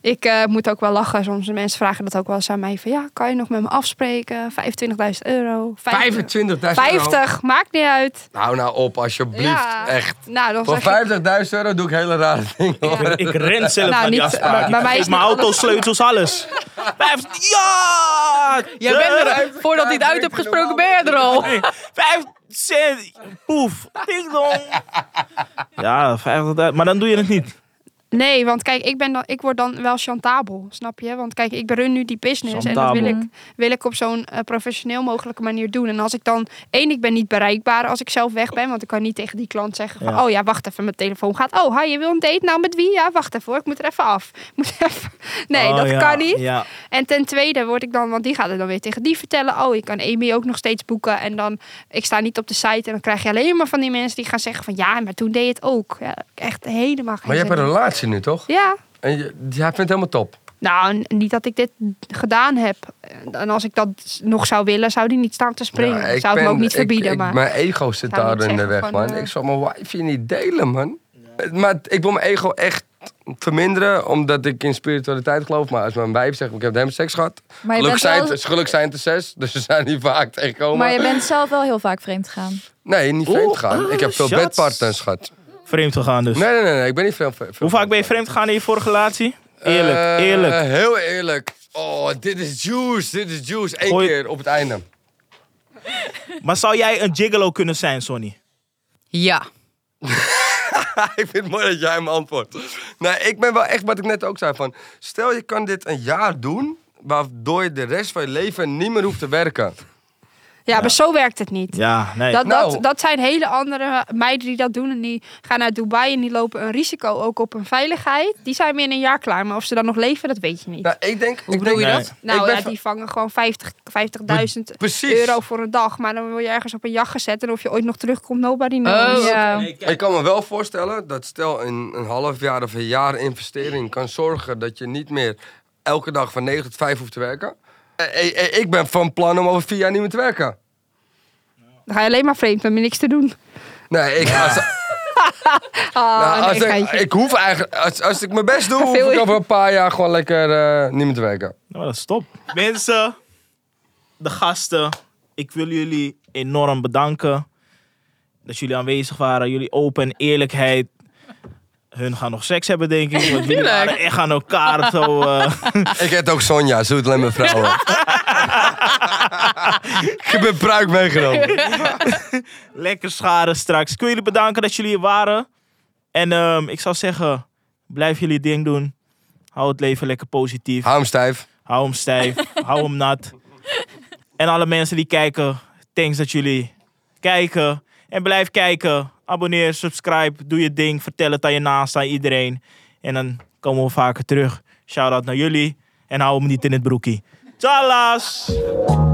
Speaker 1: Ik eh, moet ook wel lachen. Soms de mensen vragen dat ook wel eens aan mij. Van ja, kan je nog met me afspreken? 25.000 euro. 50, 50, maakt niet uit.
Speaker 4: Nou, nou op, alsjeblieft.
Speaker 1: Ja.
Speaker 4: Echt.
Speaker 1: Nou, dan
Speaker 4: Voor
Speaker 1: zeg ik,
Speaker 4: 50.000 euro doe ik hele rare dingen. hoor.
Speaker 5: Ik ren
Speaker 1: Nou,
Speaker 5: zelf naar die
Speaker 1: niet-
Speaker 5: afspraak.
Speaker 1: bij
Speaker 5: Ik
Speaker 1: mij is
Speaker 5: geef mijn
Speaker 1: niet
Speaker 5: auto, sleutels, alles. Vijf, ja!
Speaker 2: Jij bent er, voordat hij het uit hebt gesproken, ben je er al.
Speaker 5: Vijf cent, poef, ding dong. Ja, 50.000, maar dan doe je het niet.
Speaker 1: nee, want kijk, ik, ben dan, ik word dan wel chantabel, snap je? Want kijk, ik run nu die business en dat wil
Speaker 5: Chantabel.
Speaker 1: ik, wil ik op zo'n eh, professioneel mogelijke manier doen. En als ik dan, één, ik ben niet bereikbaar als ik zelf weg ben, want ik kan niet tegen die klant zeggen van,
Speaker 5: Ja.
Speaker 1: oh ja, wacht even, mijn telefoon gaat. Oh, hi, je wil een date? Nou, met wie? Ja, wacht even hoor, ik moet er even af. Ik Moet even... Nee,
Speaker 5: Oh,
Speaker 1: dat
Speaker 5: ja,
Speaker 1: kan niet.
Speaker 5: Ja,
Speaker 1: En ten tweede word ik dan, want die gaat het dan weer tegen die vertellen. Oh, ik kan Amy ook nog steeds boeken. En dan, ik sta niet op de site. En dan krijg je alleen maar van die mensen die gaan zeggen van... Ja, maar toen deed je het ook. Ja, echt helemaal geen
Speaker 4: Maar je hebt
Speaker 1: zin
Speaker 4: een
Speaker 1: in.
Speaker 4: relatie nu, toch?
Speaker 1: Ja.
Speaker 4: En je, jij vindt het helemaal top.
Speaker 1: Nou, n- niet dat ik dit gedaan heb. En als ik dat nog zou willen, zou die niet staan te springen.
Speaker 4: Ja,
Speaker 1: ik zou het
Speaker 4: ben-
Speaker 1: hem ook niet
Speaker 4: ik-
Speaker 1: verbieden.
Speaker 4: ik-
Speaker 1: maar
Speaker 4: Mijn ego zit
Speaker 1: zou
Speaker 4: daar
Speaker 1: niet
Speaker 4: in de
Speaker 1: zeggen
Speaker 4: weg,
Speaker 1: van,
Speaker 4: man.
Speaker 1: eh,
Speaker 4: Ik zal mijn wife niet delen, man. Maar t- ik wil mijn ego echt verminderen, omdat ik in spiritualiteit geloof. Maar als mijn wijf zegt, ik heb met hem seks gehad.
Speaker 3: Maar je,
Speaker 4: Gelukkig
Speaker 3: bent
Speaker 4: zijn,
Speaker 3: wel,
Speaker 4: het- gelukkig zijn het er zes, dus ze zijn niet vaak tegenkomen.
Speaker 3: maar je bent zelf wel heel vaak vreemd gegaan.
Speaker 4: Nee, niet
Speaker 5: Oeh, ah,
Speaker 4: vreemd gaan. Ik heb veel
Speaker 5: shots.
Speaker 4: bedpartners gehad.
Speaker 5: vreemd gegaan dus.
Speaker 4: Nee, nee, nee, nee, ik ben niet vreemd. vreemd
Speaker 5: Hoe vaak ben je vreemd gegaan in je vorige relatie? Eerlijk,
Speaker 4: Eh,
Speaker 5: eerlijk.
Speaker 4: Heel eerlijk. Oh, dit is juice, dit is juice. Eén
Speaker 5: Gooi-
Speaker 4: keer op het einde.
Speaker 5: Maar zou jij een gigolo kunnen zijn, Sonny?
Speaker 2: Ja.
Speaker 4: ik vind het mooi dat jij hem antwoordt. Nee, ik ben wel echt wat ik net ook zei. Van, stel je kan dit een jaar doen, waardoor je de rest van je leven niet meer hoeft te werken.
Speaker 1: ja, maar zo werkt het niet.
Speaker 5: Ja, nee.
Speaker 1: Dat,
Speaker 4: Nou.
Speaker 1: dat, dat zijn hele andere meiden die dat doen. En die gaan naar Dubai en die lopen een risico ook op hun veiligheid. Die zijn binnen een jaar klaar. Maar of ze dan nog leven, dat weet je niet.
Speaker 4: Nou, ik denk... Hoe ik
Speaker 5: bedoel
Speaker 4: denk,
Speaker 5: je dat?
Speaker 4: Ik
Speaker 1: Nou
Speaker 4: ben
Speaker 1: ja,
Speaker 4: van-
Speaker 1: die vangen gewoon 50 50.000
Speaker 4: Precies.
Speaker 1: euro voor een dag. Maar dan word je ergens op een jacht gezet. En of je ooit nog terugkomt, nobody knows.
Speaker 2: Oh,
Speaker 3: ja.
Speaker 4: Ik kan me wel voorstellen dat stel een, een half jaar of een jaar investering kan zorgen dat je niet meer elke dag van 9 tot 5 hoeft te werken. Eh, eh, eh, Ik ben van plan om over vier jaar niet meer te werken.
Speaker 1: Dan ga je alleen maar vreemd met niks te doen.
Speaker 4: Nee, ik, als,
Speaker 1: Oh, Ah,
Speaker 4: nou, als
Speaker 1: nee,
Speaker 4: ik,
Speaker 1: geintje.
Speaker 4: ik hoef eigenlijk, als, als ik mijn best doe, hoef
Speaker 1: Veel-
Speaker 4: ik over een paar jaar gewoon lekker eh, niet meer te werken.
Speaker 5: Nou, dat is top. Mensen, de gasten, ik wil jullie enorm bedanken dat jullie aanwezig waren. Jullie open eerlijkheid. Hun gaan nog seks hebben, denk ik. Want jullie waren echt aan elkaar zo... eh,
Speaker 4: Ik heet ook Sonja, zo doet alleen mijn vrouw. ik heb een pruik meegenomen.
Speaker 5: lekker scharen straks. Ik wil jullie bedanken dat jullie hier waren. En ehm, ik zou zeggen, blijf jullie ding doen. Hou het leven lekker positief.
Speaker 4: Hou hem stijf.
Speaker 5: Hou hem stijf. hou hem nat. En alle mensen die kijken, thanks dat jullie kijken. En blijf kijken. Abonneer, subscribe, doe je ding. Vertel het aan je naast, aan iedereen. En dan komen we vaker terug. Shout out naar jullie. En hou hem niet in het broekie. Tjallas!